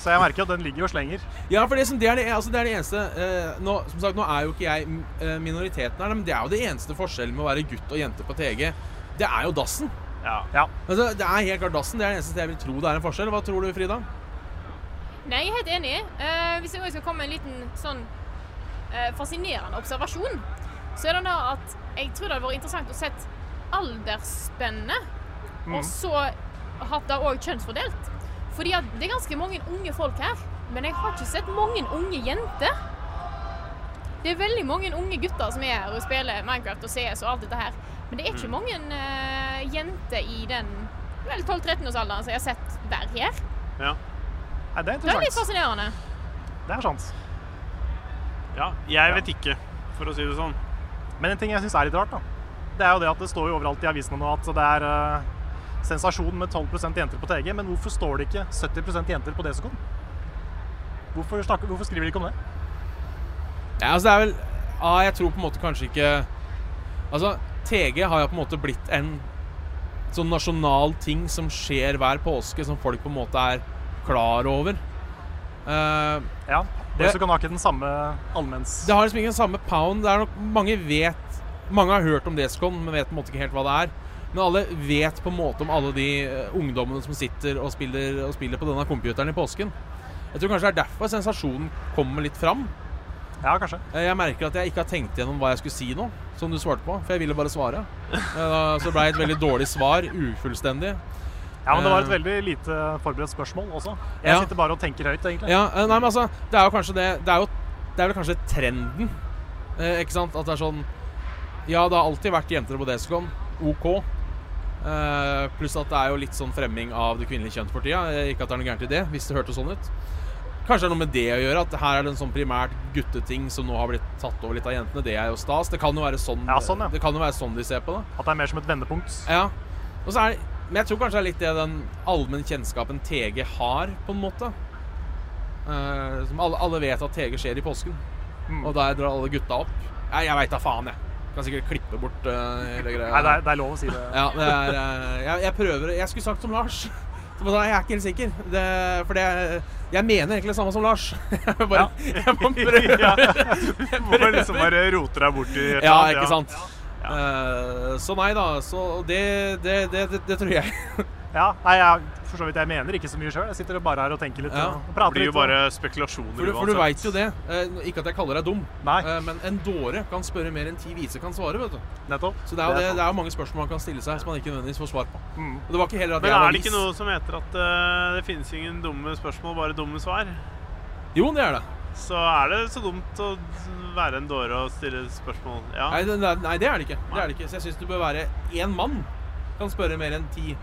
Så jeg merker jo at den ligger og slenger.
er Ja, for det, som, det, er det, altså, det er det eneste eh, nå, Som sagt, nå er jo ikke jeg mm, eh, minoriteten her, men det er jo det eneste forskjellen med å være gutt og jente på TG. Det er jo dassen.
ja.
Ja.
Altså, det er helt klart dassen. Det er det eneste jeg vil tro det er en forskjell. Hva tror du, Frida?
Nei, jeg er helt enig. Eh, hvis jeg også skal komme med en liten sånn eh, fascinerende observasjon, så er det da at jeg tror det hadde vært interessant å sett aldersspennet Og så hatt det òg kjønnsfordelt. Fordi at det er ganske mange unge folk her, men jeg har ikke sett mange unge jenter. Det er veldig mange unge gutter som er her og spiller Minecraft og CS og alt dette her. Men det er ikke mange eh, jenter i den vel 12-13-årsalderen som jeg har sett være her.
Ja.
Nei, det er
Det er litt
interessant.
fascinerende.
Det er sant.
ja. Jeg vet ikke, for å si det sånn.
Men en ting jeg syns er litt rart, da, det er jo det at det står jo overalt i avisene nå at det er eh, sensasjon med 12 jenter på TG, men hvorfor står det ikke 70 jenter på DSK? Hvorfor, snakker, hvorfor skriver de ikke om det?
Ja, altså det er vel Ja, jeg tror på en måte kanskje ikke Altså, TG har jo på en måte blitt en sånn nasjonal ting som skjer hver påske, som folk på en måte er klar over. Eh,
Ja,
Det-
DSK kan ha ikke den samme allmenns...
det har liksom ikke den samme pound. Det er nok Mange vet Mange har hørt om Descon, men vet på en måte ikke helt hva det er. Men alle vet på en måte om alle de eh, ungdommene som sitter og spiller, og spiller på denne computeren i påsken. Jeg tror kanskje det er derfor sensasjonen kommer litt fram.
Ja, kanskje.
Eh, Jeg merker at jeg ikke har tenkt gjennom hva jeg skulle si nå, som du svarte på. For jeg ville bare svare. Eh, da- Så det ble et veldig dårlig svar. Ufullstendig.
Ja, men det var et
Eh.
veldig lite forberedt spørsmål også. Jeg
Ja.
sitter bare og tenker høyt, egentlig.
Ja, eh, nei, men altså, det er jo kanskje det Det er, jo, det er vel kanskje trenden, eh, ikke sant? At det er sånn Ja, det har alltid vært jenter på Descon. OK. Eh, pluss at det er jo litt sånn fremming av det kvinnelige kjønn for tida. Eh, Ikke at det er noe gærent i det, hvis det hørtes sånn ut. Kanskje det er noe med det å gjøre, at her er det en sånn primært gutteting som nå har blitt tatt over litt av jentene. Det er jo stas. Det kan jo være sånn,
Ja, sånn, ja.
Det kan jo være sånn de ser på det.
At det er mer som et vendepunkt.
Ja. Og så er det Men jeg tror kanskje det er litt det den allmenn kjennskapen TG har, på en måte. Eh, som alle, alle vet at TG skjer i påsken.
Mm.
Og der drar alle gutta opp. Nei, jeg veit da faen, jeg. Kan sikkert klippe bort eh, hele greia.
Nei, det er, det er lov å si det.
Ja, det er eh, jeg, jeg prøver Jeg skulle sagt som Lars. Så bare, jeg er ikke helt sikker. Det, for det, jeg mener egentlig det samme som Lars. Jeg bare, jeg bare prøver.
Ja. Hvorfor liksom bare roter deg bort i et
Ja,
eller annet,
ikke sant? Eh, så nei da. Så det, det, det, det, det tror jeg.
Ja, nei, jeg, for så vidt, jeg mener ikke så mye sjøl. Jeg sitter bare her og tenker litt
Ja.
og og
Det
prater litt.
blir
sånn.
jo bare
og-
spekulasjoner
For du, for du veit jo det. Eh, Ikke at jeg kaller deg dum,
Nei.
eh, men en dåre kan spørre mer enn ti vise kan svare. vet du
Nettopp.
Så det er jo det,
sant.
det er jo mange spørsmål man kan stille seg som man ikke nødvendigvis får svar på.
Mm.
Og det var ikke heller at
Men
jeg
er
var
det ikke
vis.
noe som heter at eh, det finnes ingen dumme spørsmål, bare dumme svar?
Jo, det er det.
Så er det så dumt å være en dåre og stille spørsmål. Ja.
Nei, det, det- nei, det er det ikke. Det er det ikke. Så jeg syns det bør være én mann kan spørre mer enn ti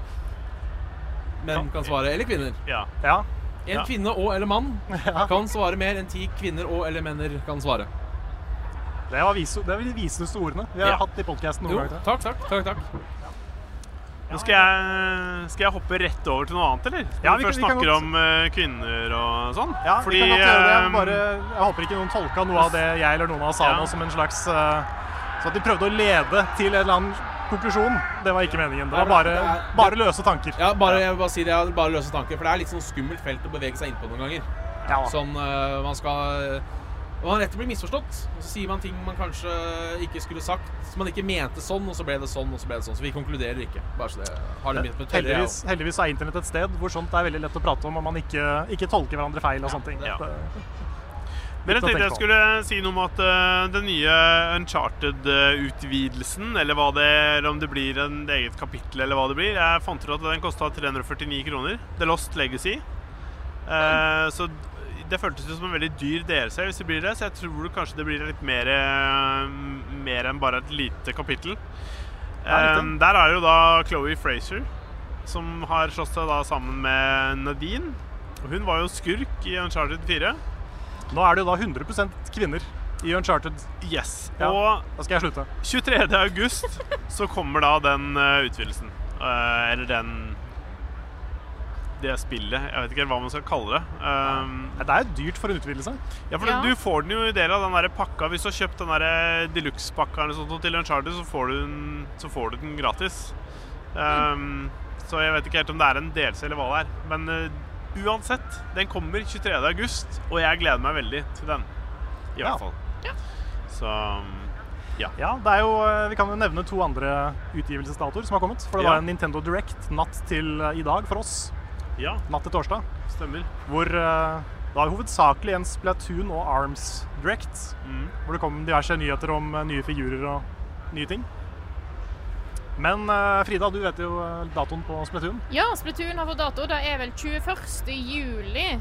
menn kan svare. Eller kvinner.
ja.
Ja.
En
Ja.
kvinne og eller mann kan svare mer enn ti kvinner og eller menner kan svare.
Det var viso, det er de viseste ordene vi har
Ja.
hatt i podkasten
Jo,
noen gang.
takk, takk. takk, takk.
Nå skal jeg, skal jeg hoppe rett over til noe annet, eller? Når
Ja,
vi,
vi kan-
først
vi kan
snakker
godt-
om eh, kvinner og sånn.
Ja, vi kan godt gjøre det. Jeg,
eh,
bare, jeg håper ikke noen tolka noe av det jeg eller noen av oss sa
Ja.
nå som en slags eh, Så at de prøvde å lede til en eller annen konklusjon. Det var ikke meningen. Det var
Nei,
bare,
det er-
bare løse tanker.
Ja, bare, jeg vil bare si det, jeg hadde bare løse tanker, for det er litt sånn skummelt felt å bevege seg inn på noen ganger.
Ja.
Sånn, øh, man skal og Man er rett til å bli misforstått. Og så sier man ting man kanskje ikke skulle sagt, som man ikke mente sånn, og så ble det sånn, og så ble det sånn. Så vi konkluderer ikke. Bare så det har det begynt med tørre.
Heldigvis, heldigvis er internett et sted hvor sånt er veldig lett å prate om, og man ikke, ikke tolker hverandre feil og sånne ting.
Ja.
Det-
Men jeg
Litt å
tenkte jeg
tenke på.
skulle si noe om at eh, den nye Uncharted-utvidelsen, eller hva det eller om det blir en eget kapittel, eller hva det blir Jeg fant ut at den kosta 349 kroner. The Lost Legacy. Eh, så det føltes jo som en veldig dyr DLC hvis det blir det, så jeg tror kanskje det blir litt mer, eh, mer enn bare et lite kapittel.
Ja, litt, ja.
Eh, der er jo da Chloé Fraser, som har slått seg da sammen med Nadine. Og hun var jo skurk i Uncharted 4.
Nå er det jo da 100 kvinner i Uncharted.
Yes.
Ja.
Og
Da skal jeg slutte.
23. august så kommer da den eh, utvidelsen. Eh, eller den Det spillet. Jeg vet ikke helt hva man skal kalle det. Um,
Nei, Det er jo dyrt for en utvidelse.
ja, for
Ja.
Du får den jo i del av den der pakka. Hvis du har kjøpt den der deluxe-pakka eller sånt til Uncharted, så får du den, så får du den gratis. Um, Så jeg vet ikke helt om det er en delelse eller hva det er. Men eh, uansett, den kommer 23. august, og jeg gleder meg veldig til den. I
Ja.
hvert fall. Så um, ja.
Ja, det er jo, eh, Vi kan jo nevne to andre utgivelsesdatoer som har kommet. For det
Ja.
var en Nintendo Direct natt til eh, i dag for oss.
Ja,
Natt til torsdag.
stemmer.
Hvor eh, det var hovedsakelig en Splatoon og Arms Direct.
Mm.
Hvor det kom diverse nyheter om eh, nye figurer og nye ting. Men eh, Frida, du vet jo eh, datoen på Splatoon.
Ja, Splatoon har fått dato. Det er vel 21. juli.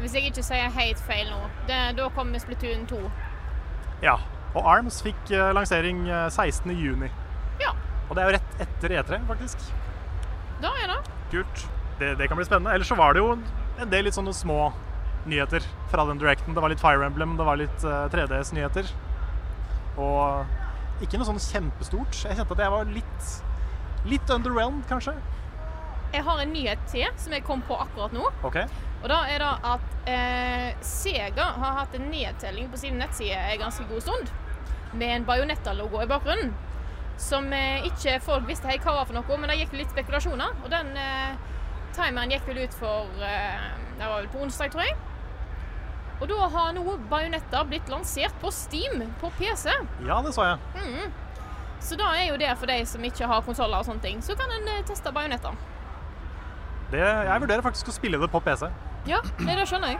Hvis jeg ikke sier helt feil nå. Det, da kommer Splatoon 2.
Ja. Og Arms fikk eh, lansering eh, 16. juni.
Ja,
Og det er jo rett etter E3, faktisk.
da er det.
Kult. Det, det kan bli spennende. Ellers så var det jo en del litt sånne små nyheter fra den directen. Det var litt Fire Emblem, det var litt 3DS-nyheter. Og ikke noe sånn kjempestort. Jeg kjente at jeg var litt, litt underwhelmed, kanskje.
Jeg har en nyhet til som jeg kom på akkurat nå.
OK.
Og da er det at eh, Sega har hatt en nedtelling på sin nettside en ganske god stund. Med en Bajonetta-logo i bakgrunnen. Som eh, ikke folk visste helt hva var for noe, men det gikk litt spekulasjoner. Og den eh, timeren gikk vel ut for eh, Det var vel på onsdag, tror jeg. Og da har nå Bajonetta blitt lansert på Steam på PC.
Ja, det så jeg.
Så da er jo det for de som ikke har konsoller og sånne ting. Så kan en eh, teste Bajonetta.
Det, jeg vurderer faktisk å spille det på PC. Jeg
Ja, nei, det skjønner jeg.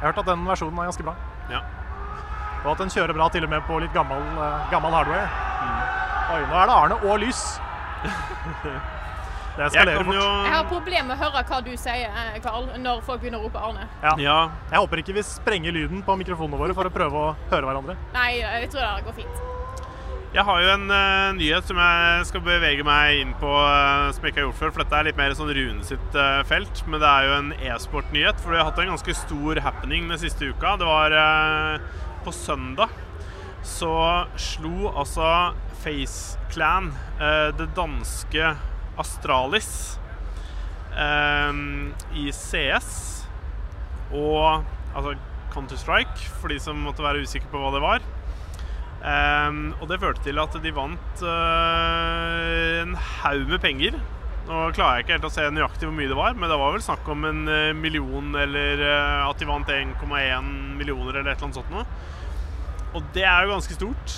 har hørt at den versjonen er ganske bra.
Ja.
Og at den kjører bra til og med på litt gammel, eh, gammel hardware.
Mm.
Oi, nå er det Arne og lys. Det
Jeg
eskalerer
kan
fort.
jo
Jeg har problemer med å høre hva du sier, eh, Karl, når folk begynner å rope Arne.
Ja.
Jeg håper ikke vi sprenger lyden på mikrofonene våre for å prøve å høre hverandre.
Nei, jeg tror det går fint.
Jeg har jo en eh, nyhet som jeg skal bevege meg inn på eh, som jeg ikke har gjort før. For dette er litt mer sånn Rune sitt eh, felt. Men det er jo en e-sportnyhet. For vi har hatt en ganske stor happening den siste uka. Det var eh, på søndag så slo altså FaceClan eh, det danske Astralis eh, i CS og altså Counter-Strike, for de som måtte være usikre på hva det var. Ehm, og det førte til at de vant eh, en haug med penger. Nå klarer jeg ikke helt å se nøyaktig hvor mye det var, men det var vel snakk om en eh, million, eller eh, at de vant 1,1 millioner, eller et eller annet sånt noe. Og det er jo ganske stort.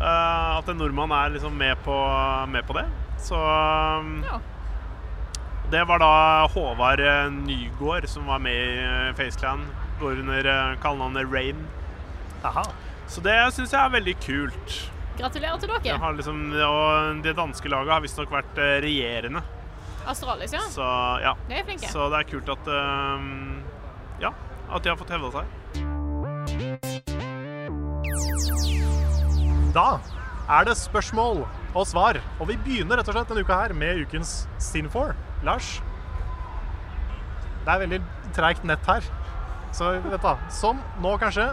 eh, at en nordmann er liksom med på, med på det. Så um,
Ja.
det var da Håvard eh, Nygård som var med i eh, FaceClan. Går under eh, kallenavnet Rain.
Aha.
Så det syns jeg er veldig kult.
Gratulerer til
Det,
dere.
har liksom, og det danske laget har visstnok vært eh, regjerende.
Astralis, ja.
Så ja.
De Ah. er flinke.
Så det er kult at eh, Ja, at de har fått hevda seg.
Da er det spørsmål og svar. Og vi begynner rett og slett denne uka her med ukens Sin4. Lars? Det er veldig treigt nett her. Så vet da. Sånn. Nå kanskje.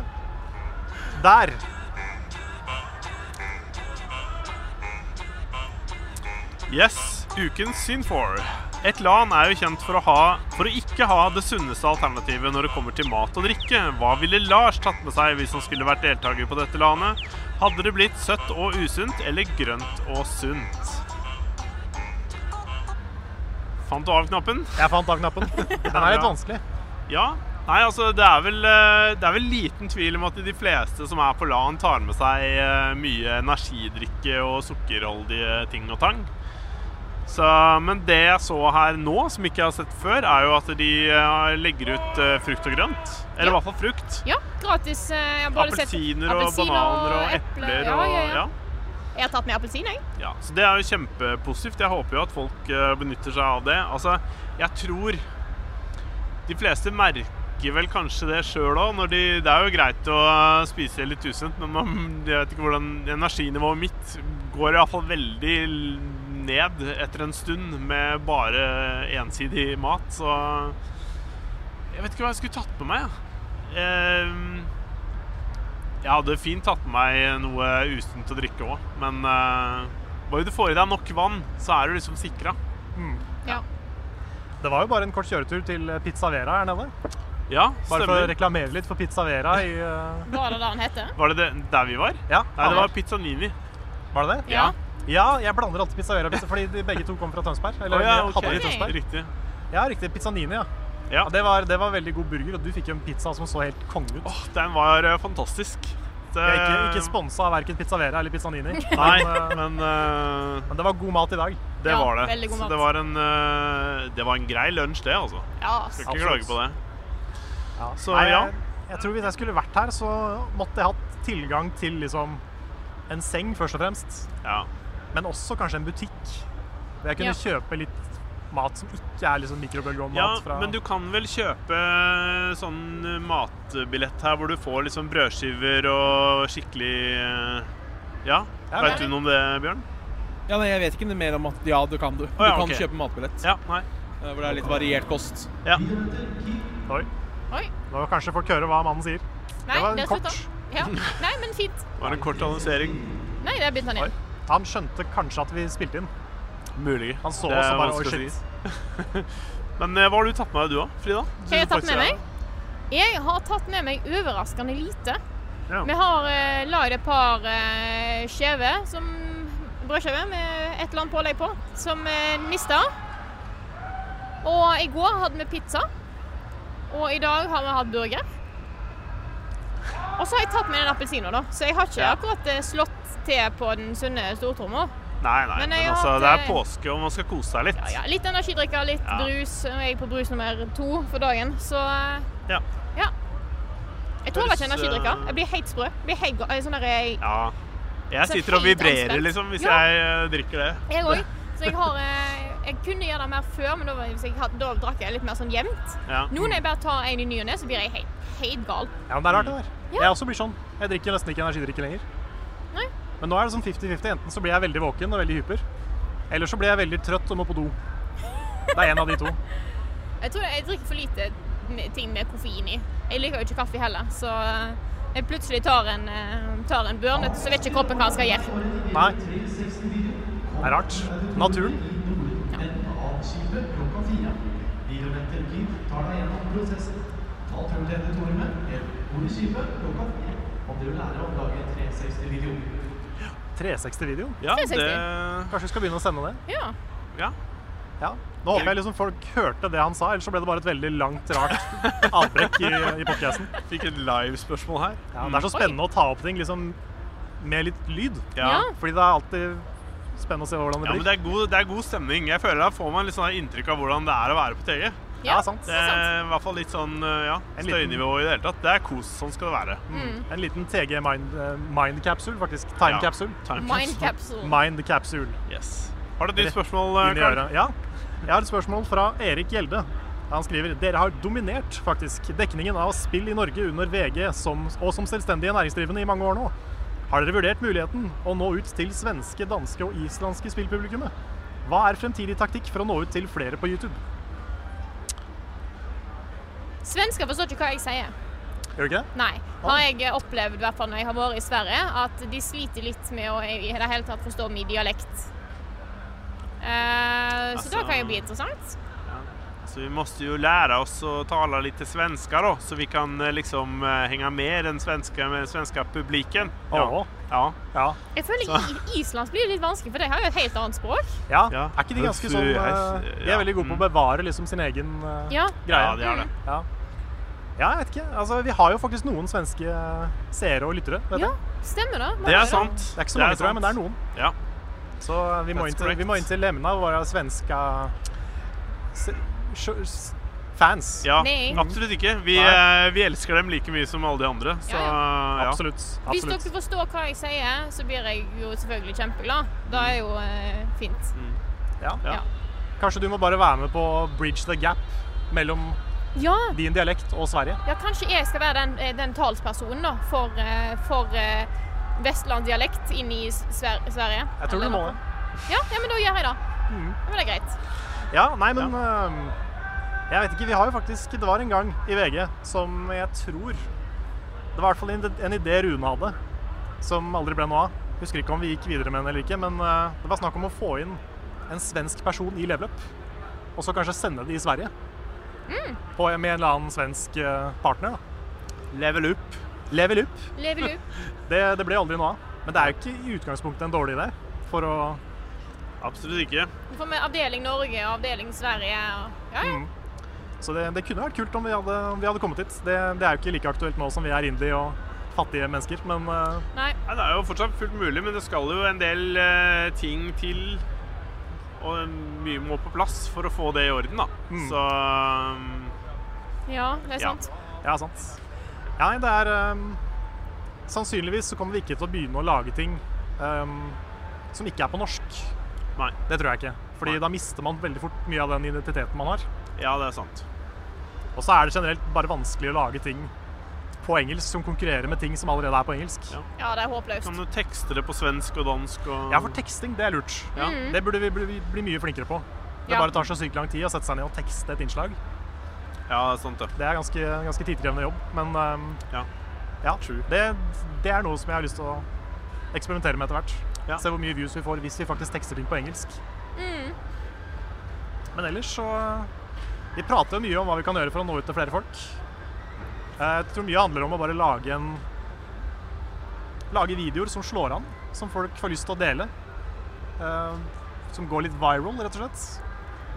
Der.
Yes, ukens Sin4. Et land er jo kjent for å, ha, for å ikke ha det sunneste alternativet når det kommer til mat og drikke. Hva ville Lars tatt med seg hvis han skulle vært deltaker på dette landet? Hadde det blitt søtt og usunt, eller grønt og sunt? Fant du av knappen?
Jeg fant av knappen. Den er litt vanskelig.
Ja. Nei, altså det er, vel, eh, det er vel liten tvil om at de fleste som er på LAN, tar med seg eh, mye energidrikke og sukkerholdige ting og tang. Så, men det jeg så her nå, som ikke jeg har sett før, er jo at de eh, legger ut eh, frukt og grønt. Eller i
Ja.
hvert fall frukt.
Ja, gratis. eh, Jeg har både sett-
Appelsiner og
appelsiner
bananer og epler
Ja,
og
ja, ja.
ja.
Jeg har tatt med appelsin, jeg.
Ja, så Det er jo kjempepositivt. Jeg håper jo at folk eh, benytter seg av det. Altså, jeg tror de fleste merker vel kanskje det sjøl òg. De, det er jo greit å eh, spise litt usunt, men man, jeg vet ikke hvordan energinivået mitt går iallfall veldig l- ned etter en stund med bare ensidig mat. Så jeg vet ikke hva jeg skulle tatt med meg. jeg. Eh, jeg hadde fint tatt med meg noe usunt å drikke òg, men eh, bare du får i deg nok vann, så er du liksom sikra.
Ja.
Det var jo bare en kort kjøretur til Pizza Vera her nede.
Ja,
Bare for å
stemmer.
reklamere litt for Pizza Vera i eh,
Var det det den heter?
Var det det, der vi var?
Ja,
Nei, det var Pizzanini.
var det det?
Ja.
Ja, jeg blander alltid Pizza Vera fordi de begge to kom fra Tønsberg. Eller
Å ja,
de
ok.
hadde de i Tønsberg.
Riktig.
Ja, riktig. Pizzanini, ja.
Ja.
Ja, Det var, det var veldig god burger, og du fikk jo en pizza som så helt konge ut.
Åh, den var eh, fantastisk. Det,
Jeg er ikke, ikke sponsa av verken Pizza Vera eller Pizza Nini,
Nei,
men, eh,
men eh,
men det var god mat i dag.
det
Ja,
var det.
veldig god
Så
mat.
det var en, eh, det var en grei lunsj, det, altså.
Ja.
Skal ikke
Absolutt.
klage på det.
Ja.
Så,
Nei,
ja.
jeg, jeg tror hvis jeg skulle vært her, så måtte jeg hatt tilgang til liksom en seng, først og fremst.
Ja.
Men også kanskje en butikk. Jeg kunne
Ja.
kjøpe litt mat som ikke er liksom mikrobølgeovnmat
Ja,
fra
men du kan vel kjøpe sånn matbillett her hvor du får liksom brødskiver og skikkelig eh, Ja,
Ja,
veit
men-
du noe om det, Bjørn?
Ja, nei, jeg vet ikke mer om at Ja, det kan du. Du
ja,
kan
ok.
kjøpe matbillett.
Ja, nei.
eh, Hvor det er litt variert kost.
Ja.
Oi,
Oi.
nå har kanskje folk høre hva mannen sier.
Nei,
var
det
kort.
slutta. Ja. Nei, men fint.
Var det en kort annonsering?
Nei, det er bindt han
Oi.
inn.
Han skjønte kanskje at vi spilte inn.
Mulig.
Han så
Det
oss
er
og bare Oi,
vanskelig å
shit.
si. Men eh, hva har du tatt med deg du da, Frida?
Hva har jeg tatt
Du
med
får si
meg? Jeg har tatt med meg overraskende lite.
Ja.
Vi har eh, lagd et par eh, skjeve som brødskiver med et eller annet pålegg på, som eh, mista. Og i går hadde vi pizza. Og i dag har vi hatt burger. Og så har jeg tatt med den appelsinen, da. Så jeg har ikke
Ja.
akkurat eh, slått til på den sunne stortromma.
Nei, nei,
Men
men,
jeg har
altså,
hatt,
det er
eh,
påske, og man skal kose seg litt.
Ja, ja. Litt energidrikker, litt
Ja.
brus. Nå er jeg på brus nummer to for dagen, så eh,
Ja.
ja. Jeg tåler ikke
Høres,
energidrikker.
eh,
Jeg blir helt sprø. Jeg Blir helt, ga- eh, sånn der, jeg
Ja. Jeg
Så
sitter og
fint
vibrerer
anspent.
liksom hvis
Ja.
jeg eh, drikker det.
jeg òg. Så jeg har eh, Jeg kunne gjøre det mer før, men da, var- hvis jeg, hadde- da drakk jeg litt mer sånn jevnt.
Ja.
Nå når jeg bare tar en i ny og ne, så blir jeg helt, helt gal.
Ja, men det er rart, det der.
Ja.
Jeg også blir sånn. Jeg drikker nesten ikke energidrikke lenger.
Nei.
Men nå er det sånn 50-50. Enten så blir jeg veldig våken og veldig hyper, eller så blir jeg veldig trøtt og må på do. Det er en av de to.
Jeg tror jeg drikker for lite med- ting med koffein i. Jeg liker jo ikke kaffe heller, så eh, jeg plutselig tar en, eh, tar en børnet, så vet ikke kroppen hva den skal gjøre.
Nei. Det er rart. Naturen. Avskipet klokka 360-video.
Ja,
360.
det
Kanskje vi skal begynne å sende det?
Ja.
Ja.
Ja. Nå håper jeg liksom folk hørte det han sa, ellers så ble det bare et veldig langt, rart avbrekk i, i podcasten.
Fikk et live-spørsmål her. Mm.
Ja, det er så spennende å ta opp ting liksom med litt lyd.
Ja.
Fordi det er alltid spennende å se hvordan
Ja,
det blir.
men det er, god, det er god stemning. Jeg føler Da får man litt sånn inntrykk av hvordan det er å være på TG.
Ja, sant.
Det
er sant.
er I hvert fall litt sånn eh, ja,
En liten- Mm.
støynivå i det hele tatt. Det er kos. Sånn skal det være.
En liten TG mind, eh, mind capsule, faktisk. Time
Ja.
capsule.
Time
Mind
capsule.
capsule.
Mind capsule.
Yes. Har du et nytt spørsmål, eh,
Inn i
Karl?
øret. Ja. Jeg har et spørsmål fra Erik Gjelde. Han skriver dere har dominert faktisk dekningen av spill i Norge under VG som, og som selvstendige næringsdrivende i mange år nå. Har dere vurdert muligheten å nå ut til svenske, danske og islandske spillpublikummet? Hva er fremtidig taktikk for å nå ut til flere på YouTube?
Svensker forstår ikke hva jeg sier.
Gjør du ikke det?
Nei. Har jeg opplevd, i hvert fall når jeg har vært i Sverige, at de sliter litt med å i det hele tatt forstå min dialekt. Eh, så da
Altså-
kan jo bli interessant.
Så vi måste ju lära oss att tala lite svenska då, så vi kan eh, liksom eh, hänga med den svenska, med den svenska publiken.
Ja.
Ja.
Ja.
Jeg føler i Island blir det litt vanskelig, for de har jo et helt annet språk.
ja.
Ja.
Er ikke de ganske sånn eh, De er veldig gode på å bevare liksom sin egen eh,
Ja.
Ja,
greie.
det er det.
Ja. ja, jeg vet ikke. Altså, vi har jo faktisk noen svenske eh, seere og lyttere. vet jeg.
Ja, stemmer det.
Det er sant.
Det er ikke så mange, tror jeg, men det er noen.
Ja.
Så eh, vi må,
That's
inn til, vi
correct.
må inn til Lemna og være svenska se- sj- s- fans.
ja.
Nei.
Absolutt ikke. Vi,
Nei.
eh, vi elsker dem like mye som alle de andre, så
Ja,
ja.
Absolutt.
Hvis
absolutt.
dere forstår hva jeg sier, så blir jeg jo selvfølgelig kjempeglad. Da er jo eh, fint.
Mm. Ja.
Ja.
Ja.
Kanskje du må bare være med på å bridge the gap mellom
ja.
din dialekt og Sverige.
Ja, kanskje jeg skal være den, eh, den talspersonen da, for, eh, for eh, vestlandsdialekt inn i Sver- Sverige.
Jeg tror
Eller
du må
noe.
det.
Ja, ja, men da gjør jeg det.
Mm.
Ja, men det er greit.
Ja, nei, men øhm, Jeg vet ikke, vi har jo faktisk Det var en gang i VG som jeg tror Det var i hvert fall en, en idé Rune hadde, som aldri ble noe av. Husker ikke om vi gikk videre med den eller ikke, men øh, det var snakk om å få inn en svensk person i level up, og så kanskje sende det i Sverige. På, med en eller annen svensk øh, partner. da.
Level up.
Level up.
Lever du?
Det, det ble aldri noe av. Men det er jo ikke i utgangspunktet en dårlig idé for å
Absolutt ikke.
Nå får vi avdeling Norge og avdeling Sverige. Og... Ja, ja.
Mm. Så det, det kunne vært kult om vi hadde, om vi hadde kommet hit. Det, det er jo ikke like aktuelt nå som vi er indie og fattige mennesker, men eh,
Nei.
Nei, det er jo fortsatt fullt mulig, men det skal jo en del eh, ting til. Og um, mye må på plass for å få det i orden, da.
Mm.
Så um,
Ja, det er
Ja.
sant.
ja, sant. Ja, Nei, det er eh, Sannsynligvis så kommer vi ikke til å begynne å lage ting eh, som ikke er på norsk.
Nei.
Det tror jeg ikke. Fordi da mister man veldig fort mye av den identiteten man har.
Ja, det er sant.
Og så er det generelt bare vanskelig å lage ting på engelsk som konkurrerer med ting som allerede er på engelsk.
Ja.
Ja, det er håpløst.
Kan du tekste det på svensk og dansk og
Ja, for teksting, det er lurt.
Ja.
Mm.
Det burde vi bli, bli mye flinkere på. Det
Ja.
bare tar så sykt lang tid å sette seg ned og tekste et innslag.
ja, det er sant, det.
Det er ganske, ganske tidkrevende jobb, men ehm,
Ja.
ja,
True.
det, det er noe som jeg har lyst til å eksperimentere med etter hvert.
Ja.
Se hvor mye views vi får hvis vi faktisk tekster ting på engelsk.
Mm.
Men ellers så Vi prater jo mye om hva vi kan gjøre for å nå ut til flere folk. Eh, Jeg tror mye handler om å bare lage en Lage videoer som slår an, som folk får lyst til å dele. Eh, Som går litt viral, rett og slett.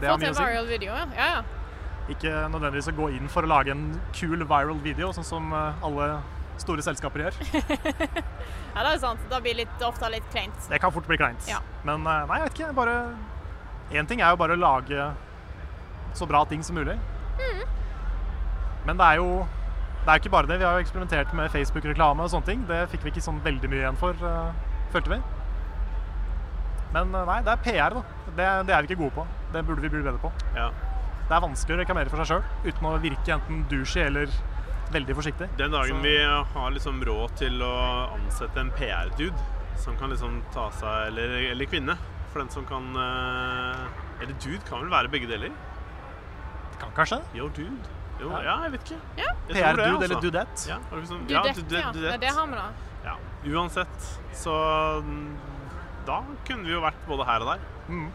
Det
Få
har
til
mye å
en
si.
viral video, ja. ja. ja.
Ikke nødvendigvis å gå inn for å lage en kul viral video, sånn som eh, alle store selskaper gjør.
Ja, det er sant. Da blir det litt, ofte litt kleint.
Det kan fort bli kleint.
Ja.
Men eh, nei, jeg vet ikke. Bare Én ting er jo bare å lage så bra ting som mulig. Men det er jo det er jo ikke bare det. Vi har jo eksperimentert med Facebook-reklame og sånne ting. Det fikk vi ikke sånn veldig mye igjen for, eh, følte vi. Men eh, nei, det er PR, da. Det, det er vi ikke gode på. Det burde vi bli bedre på.
Ja.
Det er vanskelig å reklamere for seg sjøl uten å virke enten douchey eller veldig forsiktig.
Den dagen
Så-
vi har liksom råd til å ansette en PR-dude som kan liksom ta seg Eller, eller kvinne. For den som kan eh, Eller dude kan vel være begge deler?
Kan kanskje?
Yo, dude. Jo,
Ja.
ja. jeg vet ikke.
Ja.
Jeg tror det,
PR-dude
altså.
eller dudette.
Ja, har du ikke sånn-
Du
ja,
detter,
du-
ja.
du-
Nei,
dudette.
det har vi da.
Ja. Uansett, så mm, da kunne vi jo vært både her og der.
Mm.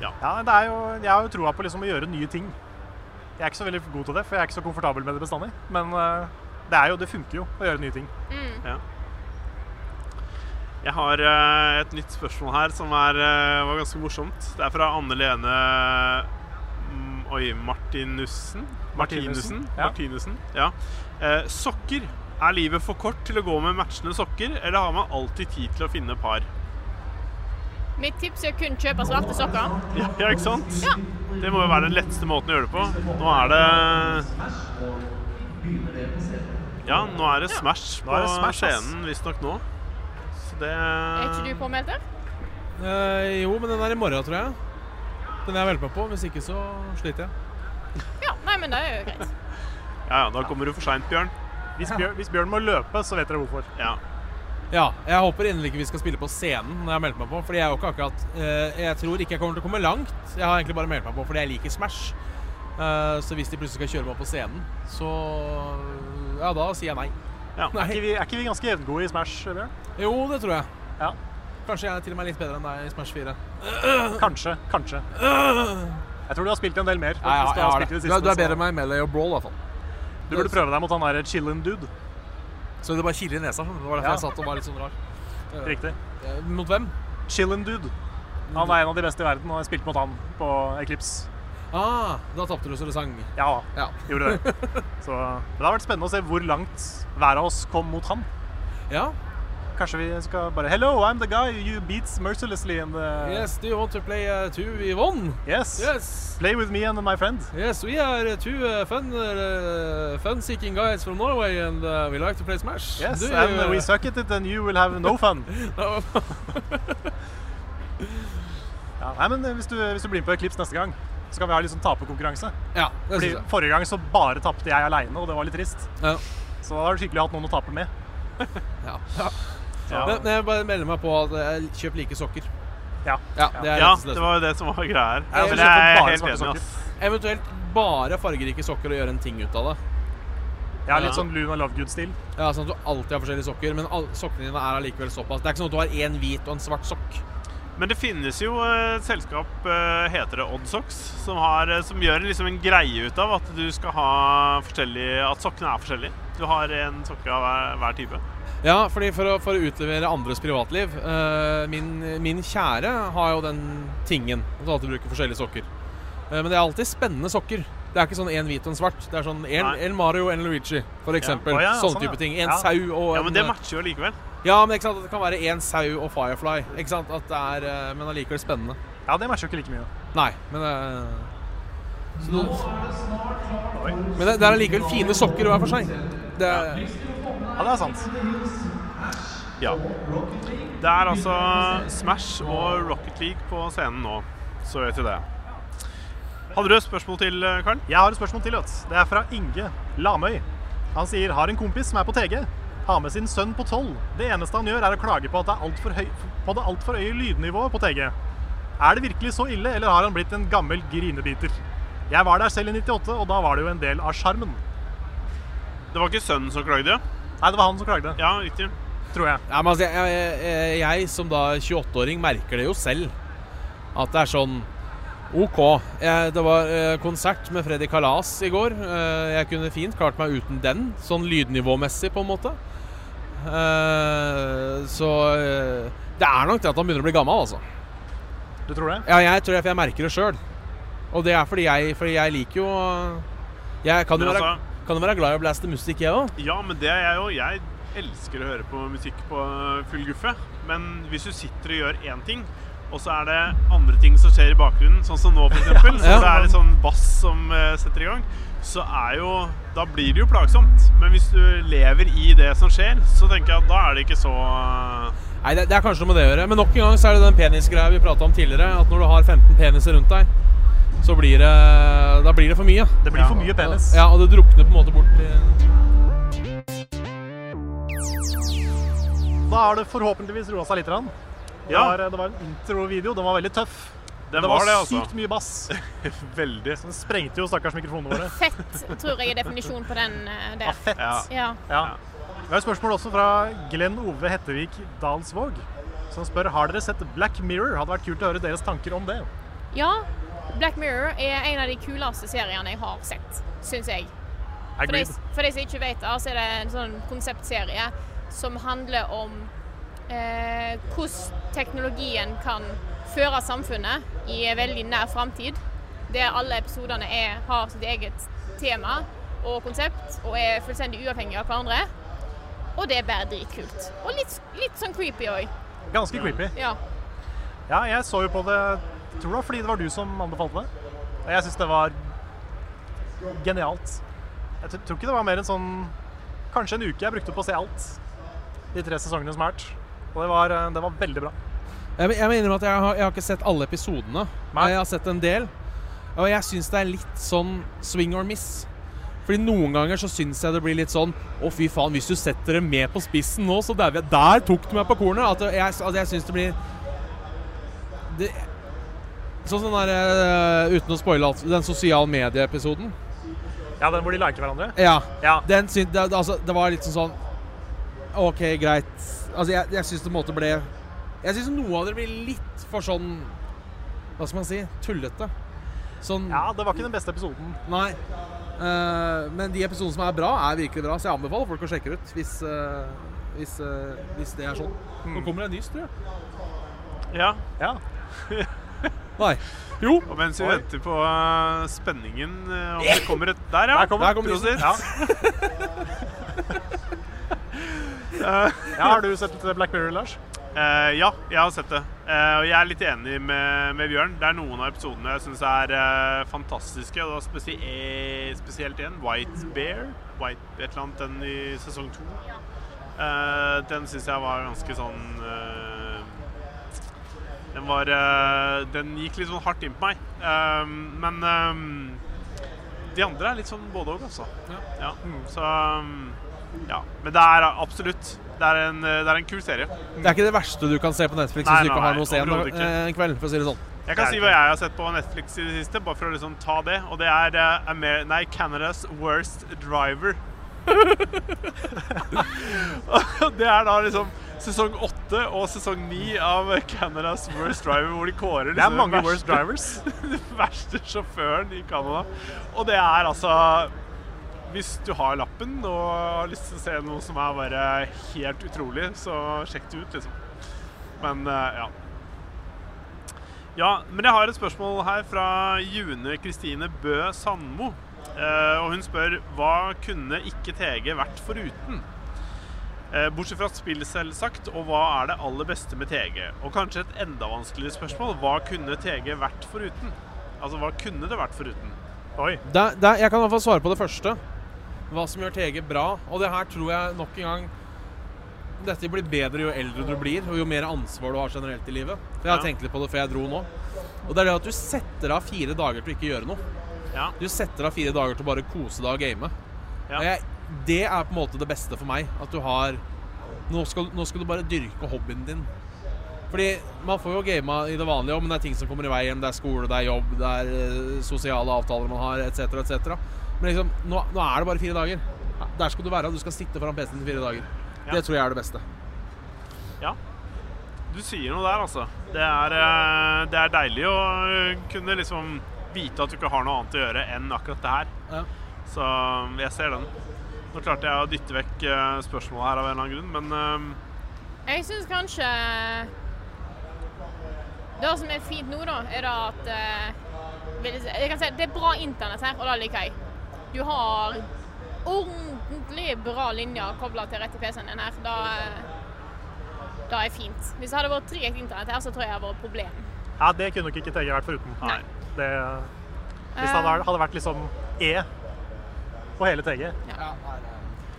Ja.
det er jo, jeg har jo troa på liksom å gjøre nye ting. Jeg er ikke så veldig god til det, for jeg er ikke så komfortabel med det bestandig. Men eh, det, er jo, det funker jo å gjøre nye ting.
Mm.
Jeg har eh, et nytt spørsmål her som er, eh, var ganske morsomt. Det er fra Anne Lene mm, Oi, Martinussen?
Martinussen,
Martinussen.
ja.
Martinussen, ja. Eh, sokker. Er livet for kort til å gå med matchende sokker, eller har man alltid tid til å finne par?
Mitt tips er å kun kjøpe svarte sokker.
Ja, ja ikke sant?
Ja.
Det må jo være den letteste måten å gjøre det på. Nå er det Ja, nå er det
Ja.
Smash
Nå er
på
det Smash, ass.
scenen, visstnok nå. Så det
Er ikke du påmeldt der?
Eh, jo, men den er i morgen, tror jeg. Den er jeg veldig med på. Hvis ikke, så sliter jeg.
Ja. Nei, men det er jo greit.
Ja, ja, da kommer du for seint, Bjørn.
Hvis Bjørn, hvis Bjørn må løpe, så vet dere hvorfor.
Ja.
Ja, jeg håper inderlig ikke vi skal spille på scenen når jeg melder meg på. Fordi jeg er jo ikke akkurat eh, Jeg tror ikke jeg kommer til å komme langt. Jeg har egentlig bare meldt meg på fordi jeg liker Smash. Eh, så hvis de plutselig skal kjøre meg på scenen, så Ja, da sier jeg nei.
ja.
Er ikke vi, er ikke vi ganske jevngode i Smash, Bjørn?
Jo, det tror jeg.
Ja.
Kanskje jeg er til og med litt bedre enn deg i Smash 4.
Kanskje. Kanskje. Jeg tror du har spilt en del mer.
Ja, ja,
faktisk. Du
jeg
har
har
spilt i det
det. Du,
siste,
er- du er
så
bedre enn meg i Melee og Brawl, i hvert fall.
Du burde prøve deg mot han derre chillin' dude.
Så det bare kiler i nesa. Det var derfor
Ja.
jeg satt og var litt sånn rar.
Riktig.
Eh, Mot hvem?
Chillin' dude. Han er en av de beste i verden, og jeg spilte mot han på Eclipse.
Ah, da tapte du så det sang.
Ja,
Ja.
gjorde det. Så, men det har vært spennende å se hvor langt hver av oss kom mot han.
ja.
Kanskje vi skal bare Hello, I'm the guy you beats mercilessly in the
Yes, do you want to play uh, two v one?
Yes.
Yes.
Play with me and my friend.
Yes, we are two uh, fun, uh, fun-seeking guys from Norway, and uh, we like to play Smash.
Yes,
Do you,
and
uh,
we suck at it and you will have no fun.
no.
Ja, nei, men eh, hvis du, hvis du blir med på Eclipse neste gang, så kan vi ha litt sånn taperkonkurranse.
ja, det
Fordi
synes jeg.
Forrige gang så bare tapte jeg aleine, og det var litt trist.
Ja.
Så da har du skikkelig hatt noen å tape med.
Ja. Ja.
Ja.
Men, men jeg bare melder meg på at jeg kjøper like sokker.
Ja.
Ja, det er
ja,
rett og slett sånn.
det var jo det som var greia her.
Jeg
Men
kjøper
jeg er
bare
helt
svarte
enig,
sokker.
ass.
Eventuelt bare fargerike sokker og gjøre en ting ut av det.
Jeg har
Ja.
litt sånn Luna Lovegood-stil.
Ja, sånn at du alltid har forskjellige sokker, men all, sokkene dine er allikevel såpass. Det er ikke sånn at du har én hvit og en svart sokk.
Men det finnes jo eh, et selskap, eh, heter det Oddsocks, som, har, eh, som gjør liksom en greie ut av at du skal ha forskjellige At sokkene er forskjellige. Du har en sokke av hver, hver type.
Ja, fordi for å, for å utlevere andres privatliv eh, min, min kjære har jo den tingen at hun alltid bruker forskjellige sokker. Eh, men det er alltid spennende sokker. Det er ikke sånn én hvit og en svart. Det er sånn en,
Nei.
en Mario og en Luigi, for eksempel.
Å ja,
Sånne
sånn, ja.
type ting. En
Ja.
sau og
Ja,
en eh,
Men det matcher jo likevel.
Ja, men ikke sant? at det kan være en sau og Firefly. Ikke sant? At det er, eh, men allikevel spennende.
Ja, det matcher jo ikke like mye.
Nei, men eh, så du,
Oi.
Men det, det er allikevel fine sokker hver for seg. Det,
Ja, det er sant.
Ja. Det er altså Smash og Rocket League på scenen nå. så vet vi det. Hadde du et spørsmål til, eh, Karl?
Jeg har et spørsmål til. Vet. du. Det er fra Inge Lamøy. Han sier har en kompis som er på TG. Har med sin sønn på tolv. Det eneste han gjør, er å klage på at det er altfor høy, på det altfor høye lydnivået på TG. Er det virkelig så ille, eller har han blitt en gammel grinebiter? Jeg var der selv i 98, og da var det jo en del av sjarmen.
Det var ikke sønnen som klagde?
Nei, det var han som klagde,
Ja, riktig.
tror jeg.
Ja, men altså, jeg, jeg, jeg som da 28-åring merker det jo selv. At det er sånn OK. Jeg, det var eh, konsert med Freddy Kalas i går. Eh, jeg kunne fint klart meg uten den, sånn lydnivåmessig, på en måte. Eh, så eh, det er nok det at han begynner å bli gammel, altså.
Du tror det?
Ja, jeg tror det, er for jeg merker det sjøl. Og det er fordi jeg, fordi jeg liker jo eh, Jeg kan jo
Men
være,
altså-
kan jo være glad i å blaste musikk, jeg òg.
Ja, men det er jeg jo. Jeg elsker å høre på musikk på eh, full guffe. Men hvis du sitter og gjør én ting, og så er det andre ting som skjer i bakgrunnen, sånn som nå f.eks., eksempel så
Ja.
det er litt sånn bass som eh, setter i gang, så er jo Da blir det jo plagsomt. Men hvis du lever i det som skjer, så tenker jeg at da er det ikke så eh,
Nei, det, det er kanskje noe med det å gjøre. Men nok en gang så er det den penisgreia vi prata om tidligere. At når du har 15 peniser rundt deg, så blir det Da blir det for mye.
Det blir
Ja.
for mye penis.
Ja, og det drukner på en måte bort i
Da har det forhåpentligvis roa seg litt. grann. Det,
Ja.
var, det var en introvideo. Den var veldig tøff.
Den
det
var, det,
sykt
altså.
mye bass.
Veldig.
Den sprengte jo stakkars mikrofonene våre.
Fett tror jeg er definisjonen på den eh,
Av
der.
fett.
Ja.
Ja.
Ja. Vi har et spørsmål også fra Glenn Ove Hettevik Dalsvåg, som spør har dere sett Black Mirror. Hadde vært kult å høre deres tanker om det.
ja. Black Mirror er en av de kuleste seriene jeg har sett, syns jeg. For de,
Agreed.
for de som ikke vet det, så er det en sånn konseptserie som handler om eh, hvordan teknologien kan føre samfunnet i en veldig nær framtid. Der alle episodene er, har sitt eget tema og konsept og er fullstendig uavhengige av hverandre. Og det er bare dritkult. Og litt, litt sånn creepy òg.
Ganske creepy.
Ja.
Ja, jeg så jo på det jeg tror det var fordi det var du som anbefalte det. Og jeg syns det var genialt. Jeg tr- tror ikke det var mer enn sånn Kanskje en uke jeg brukte på å se alt. De tre sesongene som har vært. Og det var, eh, det var veldig bra.
Jeg, jeg må innrømme at jeg har, jeg har ikke sett alle episodene.
Nei.
Jeg har sett en del. Og jeg syns det er litt sånn swing or miss. Fordi noen ganger så syns jeg det blir litt sånn Å, fy faen, hvis du setter det med på spissen nå, så dauer jeg. Der tok du meg på kornet! At jeg, altså, jeg syns det blir det, Sånn som den der eh, Uten å spoile alt, den sosiale medieepisoden.
Ja, den hvor de liker hverandre.
Ja.
Ja.
Den syn, det, altså, det var litt sånn sånn OK, greit. Altså, jeg, jeg syns det på en måte ble Jeg syns noe av det blir litt for sånn Hva skal man si? Tullete. Sånn
Ja, det var ikke den beste episoden.
Nei. Eh, men de episodene som er bra, er virkelig bra, så jeg anbefaler folk å sjekke det ut hvis, eh, hvis, eh, hvis det er sånn.
Mm.
Nå kommer det en nys, tror jeg.
Ja.
Ja.
Nei. Jo.
Og mens vi
Oi.
venter på eh, spenningen eh, om det kommer et Der, ja.
Der kommer,
Prosit.
Ja. ja, har du sett litt Black Mirror, Lars?
Eh, ja, jeg har sett det. Eh, og jeg er litt enig med, med Bjørn. Det er noen av episodene jeg syns er eh, fantastiske. Og da spesi eh, spesielt en, White Bear. White, et eller annet, den i sesong to. Eh, den syns jeg var ganske sånn eh, Den var eh, Den gikk litt sånn hardt inn på meg. Eh, men eh, de andre er litt sånn både òg, altså. Ja. Så um, ja. Men det er absolutt Det er en, eh, det er en kul serie.
Det er ikke det verste du kan se på Netflix
Nei,
hvis du
nei,
ikke har
nei,
noe å se en,
overhodet ikke.
eh, en kveld, for å si det sånn.
Jeg kan si hva jeg har sett på Netflix i det siste, bare for å liksom ta det. Og det er eh, Amer nei, Canada's Worst Driver. Og det er da liksom sesong åtte og sesong ni av Canada's Worst Driver, hvor de kårer
Det er
liksom den
mange
verste-
worst drivers.
den verste sjåføren i Canada. Og det er altså Hvis du har lappen og har lyst til å se noe som er bare helt utrolig, så sjekk det ut, liksom. Men eh, ja. Ja, men jeg har et spørsmål her fra June Kristine Bø Sandmo. Eh, og hun spør hva kunne ikke TG vært foruten? Eh, Bortsett fra spill, selvsagt, og hva er det aller beste med TG? Og kanskje et enda vanskeligere spørsmål, hva kunne TG vært foruten? Altså, hva kunne det vært foruten?
Oi.
Der, der, jeg kan i hvert fall svare på det første. Hva som gjør TG bra. Og det her tror jeg nok en gang Dette blir bedre jo eldre du blir, og jo mer ansvar du har generelt i livet. For jeg har
Ja.
tenkt litt på det før jeg dro nå. Og det er det at du setter av fire dager til å ikke gjøre noe.
Ja.
Du setter av fire dager til å bare kose deg og game.
Ja.
Og jeg, det er på en måte det beste for meg. At du har Nå skal, nå skal du bare dyrke hobbyen din. Fordi man får jo gama i det vanlige òg, men det er ting som kommer i veien. Det er skole, det er jobb, det er eh, sosiale avtaler man har, etc., etc. Men liksom, nå, nå er det bare fire dager. Der skal du være. Du skal sitte foran PC-en i fire dager.
Ja.
Det tror jeg er det beste.
Ja. Du sier noe der, altså. Det er, eh, det er deilig å eh, kunne liksom vite at du ikke har noe annet å gjøre enn akkurat det her.
Ja.
Så um, jeg ser den. Nå klarte jeg å dytte vekk eh, spørsmålet her av en eller annen grunn, men eh,
Jeg syns kanskje Det som er fint nå, da, er da at eh, vil jeg si- Jeg kan si det er bra internett her, og det liker jeg. Du har ordentlig bra linjer kobla til rette PC-en din her. Da, eh, da er fint. Hvis det hadde vært tregt internett her, så tror jeg det hadde vært et problem.
Ja, det kunne nok ikke TG vært foruten.
Nei.
Det, hvis det hadde, vært- hadde vært liksom E på hele TG.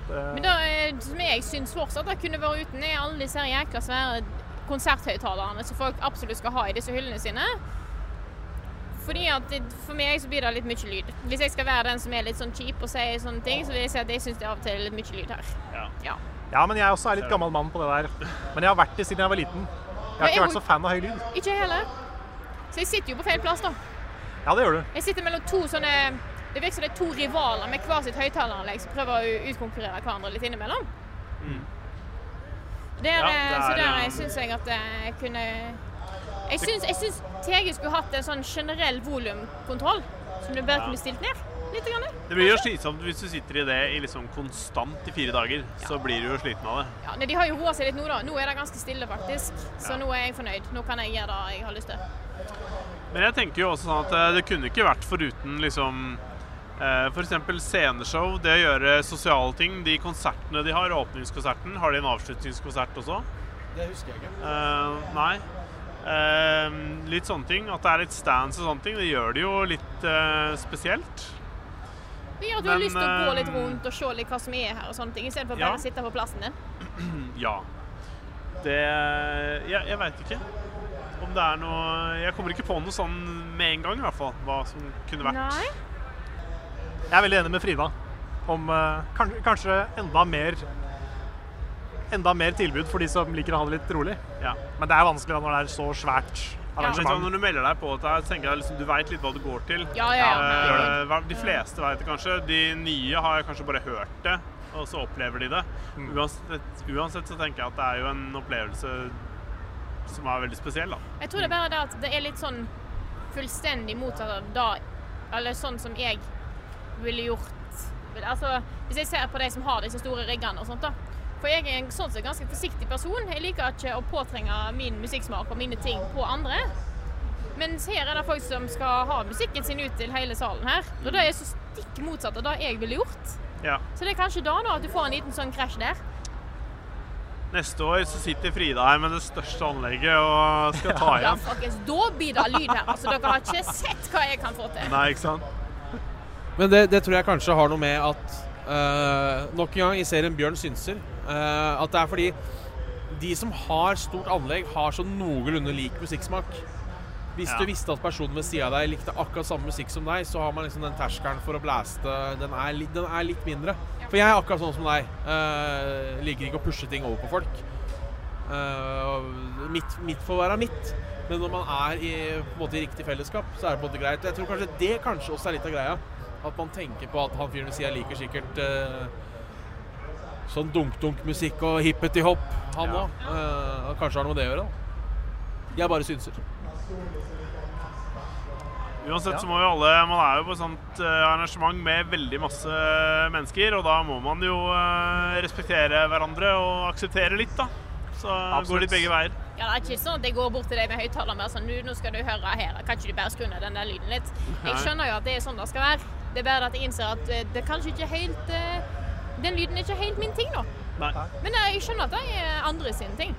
Men
Det,
det eh, som jeg syns fortsatt det kunne vært uten, er alle disse her jækla svære konserthøyttalerne som folk absolutt skal ha i disse hyllene sine. Fordi at det, For meg så blir det litt mye lyd. Hvis jeg skal være den som er litt sånn kjip og sier sånne ting, så vil jeg si at jeg syns det av og til er litt mye lyd her.
ja.
Ja.
ja, men jeg er også er litt gammel mann på det der. Men jeg har vært det siden jeg var liten. Jeg har
Men jeg
ikke vært
må-
så fan av høy lyd.
Ikke jeg heller. Så jeg sitter jo på feil plass, da.
Ja, det gjør du.
Jeg sitter mellom to sånne Det virker som det er to rivaler med hver sitt høyttaleranlegg som prøver å utkonkurrere hverandre litt innimellom.
Mm.
Der,
Ja,
eh,
det
så
er,
der
ja.
eh, syns jeg at jeg kunne Jeg syns, jeg syns TG skulle hatt en sånn generell volumkontroll som du bare
Ja.
kunne stilt ned. Litt. Grann.
Det blir jo slitsomt hvis du sitter i det i liksom konstant i fire dager. Så blir du jo sliten av det.
Ja, nei, de har jo roa seg litt nå, da. Nå er det ganske stille, faktisk. Så
Ja.
nå er jeg fornøyd. Nå kan jeg gjøre det jeg har lyst til.
Men jeg tenker jo også sånn at eh, det kunne ikke vært foruten liksom F.eks. sceneshow, det å gjøre sosiale ting. De konsertene de har, åpningskonserten, har de en avslutningskonsert også?
Det husker jeg ikke.
Eh, nei. Eh, litt sånne ting. At det er litt stands og sånne ting, det gjør det jo litt eh, spesielt.
Det gjør at du har
Men,
lyst til å gå litt
eh,
rundt og se litt hva som er her og sånne ting, istedenfor
Ja.
bare å sitte på plassen din.
Ja. Det Jeg, jeg veit ikke om det er noe Jeg kommer ikke på noe sånn med en gang, i hvert fall. Hva som kunne vært.
Nei.
Jeg er veldig enig med Frida om eh, kan, kanskje enda mer Enda mer tilbud for de som liker å ha det litt rolig.
Ja.
Men det er vanskelig da når det er så svært
Men litt sånn,
arrangement.
når du melder deg på dette, her, så tenker jeg liksom, du veit litt hva du går til.
Ja, ja, ja.
Eh,
Gjør
hva- de fleste veit det kanskje. De nye har kanskje bare hørt det, og så opplever de det.
Mm.
Uansett, uansett så tenker jeg at det er jo en opplevelse som er veldig spesiell, da.
Jeg tror det er bare det at det er litt sånn fullstendig motsatt av da Eller sånn som jeg ville gjort Vel, Altså, hvis jeg ser på de som har disse store riggene og sånt, da. For jeg er en sånn sett ganske forsiktig person. Jeg liker ikke å påtrenge min musikksmak og mine ting på andre. Mens her er det folk som skal ha musikken sin ut til hele salen her. Og det er så stikk motsatt av det jeg ville gjort.
Ja.
Så det er kanskje da da at du får en liten sånn krasj der.
Neste år så sitter Frida her med det største anlegget og skal ta
Ja,
igjen.
folkens, da blir det lyd her. Altså, dere har ikke sett hva jeg kan få til.
Nei, ikke sant?
Men det, det tror jeg kanskje har noe med at eh, Nok en gang i serien Bjørn synser. eh, at det er fordi de som har stort anlegg, har så noenlunde lik musikksmak. Hvis
Ja.
du visste at personen ved siden av deg likte akkurat samme musikk som deg, så har man liksom den terskelen for å blaste Den er, li- den er litt mindre. For jeg er akkurat sånn som deg. eh, liker ikke å pushe ting over på folk. Eh, mitt, mitt får være mitt. Men når man er i, på en måte, i riktig fellesskap, så er det på en måte greit. Jeg tror kanskje det kanskje også er litt av greia. At man tenker på at han fyren ved siden liker sikkert eh, sånn dunk-dunk-musikk og hippety-hopp, han
Ja.
òg. kanskje har noe med det å gjøre. da. Jeg bare synser.
Uansett
Ja.
så må jo alle Man er jo på et sånt eh, arrangement med veldig masse mennesker, og da må man jo eh, respektere hverandre og akseptere litt, da. Så det
Absolutt.
går litt begge veier.
Ja, det er ikke sånn at jeg går bort til deg med høyttaler og er sånn, «Du, nå skal du høre her, kan ikke du bare skru ned den der lyden litt?
Nei.
Jeg skjønner jo at det er sånn det skal være. Det er bare at jeg innser at eh, det er kanskje ikke helt eh, Den lyden er ikke helt min ting nå.
Nei.
Men eh, jeg skjønner at det er andre sin ting.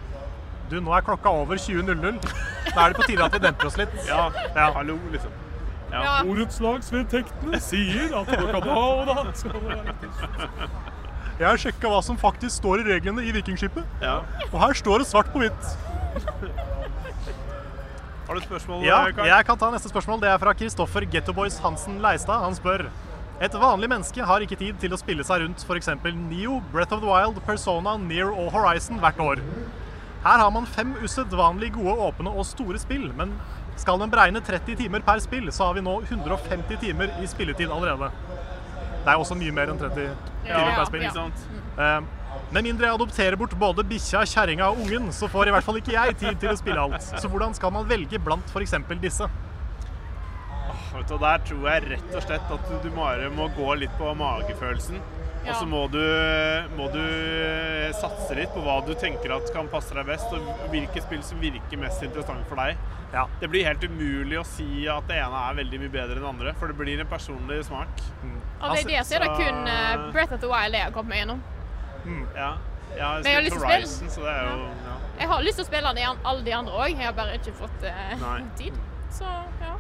Du, nå er klokka over 20.00. Da er det på tide at vi demper oss litt.
Ja, ja. hallo, liksom. Ja.
Ja.
Ordets lags vedtektene sier at det kan ha og da skal det være riktig.
Jeg har sjekka hva som faktisk står i reglene i Vikingskipet,
ja.
og her står det svart på hvitt.
Har du et spørsmål,
Ja,
Eh, Karl?
jeg kan ta neste spørsmål. Det er fra Kristoffer Gettoboys Hansen Leistad. Han spør Et vanlig menneske har ikke tid til å spille seg rundt f.eks. Neo, Breath of the Wild, Persona, Near og Horizon hvert år. Her har man fem usedvanlig gode, åpne og store spill, men skal en beregne 30 timer per spill, så har vi nå 150 timer i spilletid allerede. Det er også mye mer enn 30 timer per spill.
ja.
Ikke sant?
Eh, Med mindre jeg adopterer bort både bikkja, kjerringa og ungen, så får i hvert fall ikke jeg tid til å spille alt. Så hvordan skal man velge blant f.eks. disse?
Vet du, og Der tror jeg rett og slett at du bare må gå litt på magefølelsen. Og
Ja.
så må, du- må du satse litt på hva du tenker at kan passe deg best, og hvilke spill som virker mest interessant for deg.
Ja.
Det blir helt umulig å si at det ene er veldig mye bedre enn det andre, for det blir en personlig smak.
Mm.
Av det der så er det kun
altså-
eh, Breath of the Wild jeg har kommet meg gjennom.
Ja. Jeg har
Men jeg har
spilt
lyst til å spille.
Horizon, så det er jo ja.
Jeg har lyst til å spille den i an- alle de andre òg, jeg har bare ikke fått eh,
Nei.
tid. Så ja.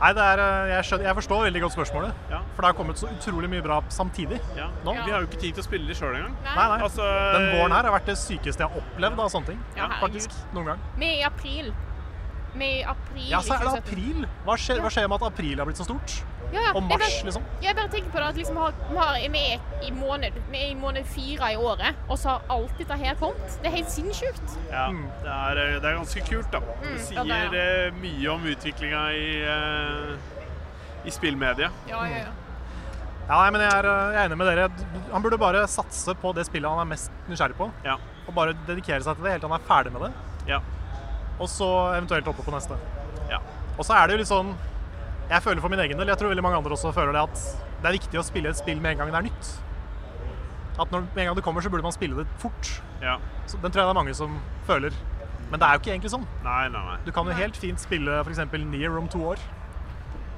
Nei, det er, eh, jeg, skjønner, jeg forstår veldig godt spørsmålet.
Ja.
For det har kommet så utrolig mye bra samtidig.
ja.
Nå?
Vi har jo ikke tid til å spille det sjøl engang.
Nei, nei.
Altså,
Den våren her har vært det sykeste jeg har opplevd av sånne ting.
Eh, Ja, herregud.
faktisk. Noen gang.
Vi er i april. Vi er i april.
Ja, så er det
2017.
april. Hva skjer, hva skjer med at april har blitt så stort?
Ja, ja.
Og
Jeg
mars,
bare-
liksom?
Jeg bare tenker på det at liksom har, vi, har, vi, er i måned, vi er i måned fire i året, og så har alt dette her kommet. Det er helt sinnssykt.
Ja,
Mm.
det er, eh, det er ganske kult, da. Det
Mm, ja,
sier
det er det.
eh, mye om utviklinga i, eh, i spillmediet.
Ja, ja, ja.
Ja, nei, men jeg er, eh, jeg er enig med dere. Han burde bare satse på det spillet han er mest nysgjerrig på.
Ja.
Og bare dedikere seg til det helt til han er ferdig med det.
Ja.
Og så eventuelt hoppe på neste.
ja.
Og så er det jo litt sånn Jeg føler for min egen del, jeg tror veldig mange andre også føler det, at det er viktig å spille et spill med en gang det er nytt. At når, med en gang det kommer, så burde man spille det fort.
ja.
Så den tror jeg det er mange som føler. Men det er jo ikke egentlig sånn.
Nei, nei, nei.
Du kan jo helt fint spille f.eks. Near om to år.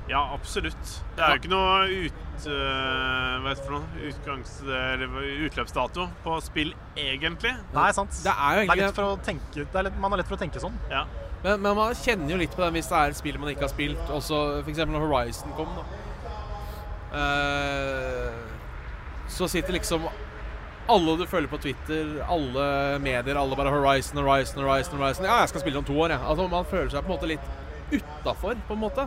Ja, absolutt. Det er jo ikke noe ut... eh, hva heter det for noe? Utgangs... Eller utløpsdato på spill, egentlig.
Nei, sant?
Det er jo
Det er
egentlig
lett for å tenke, det er lett, man er lett for å tenke sånn.
Ja.
Men, men man kjenner jo litt på den hvis det er et spill man ikke har spilt. Også f.eks. når Horizon kom, da. Eh, så sitter liksom alle du følger på Twitter, alle medier, alle bare Horizon, Horizon, Horizon. Horizon. Ja, jeg skal spille det om to år, jeg. Altså, man føler seg på en måte litt utafor, på en måte.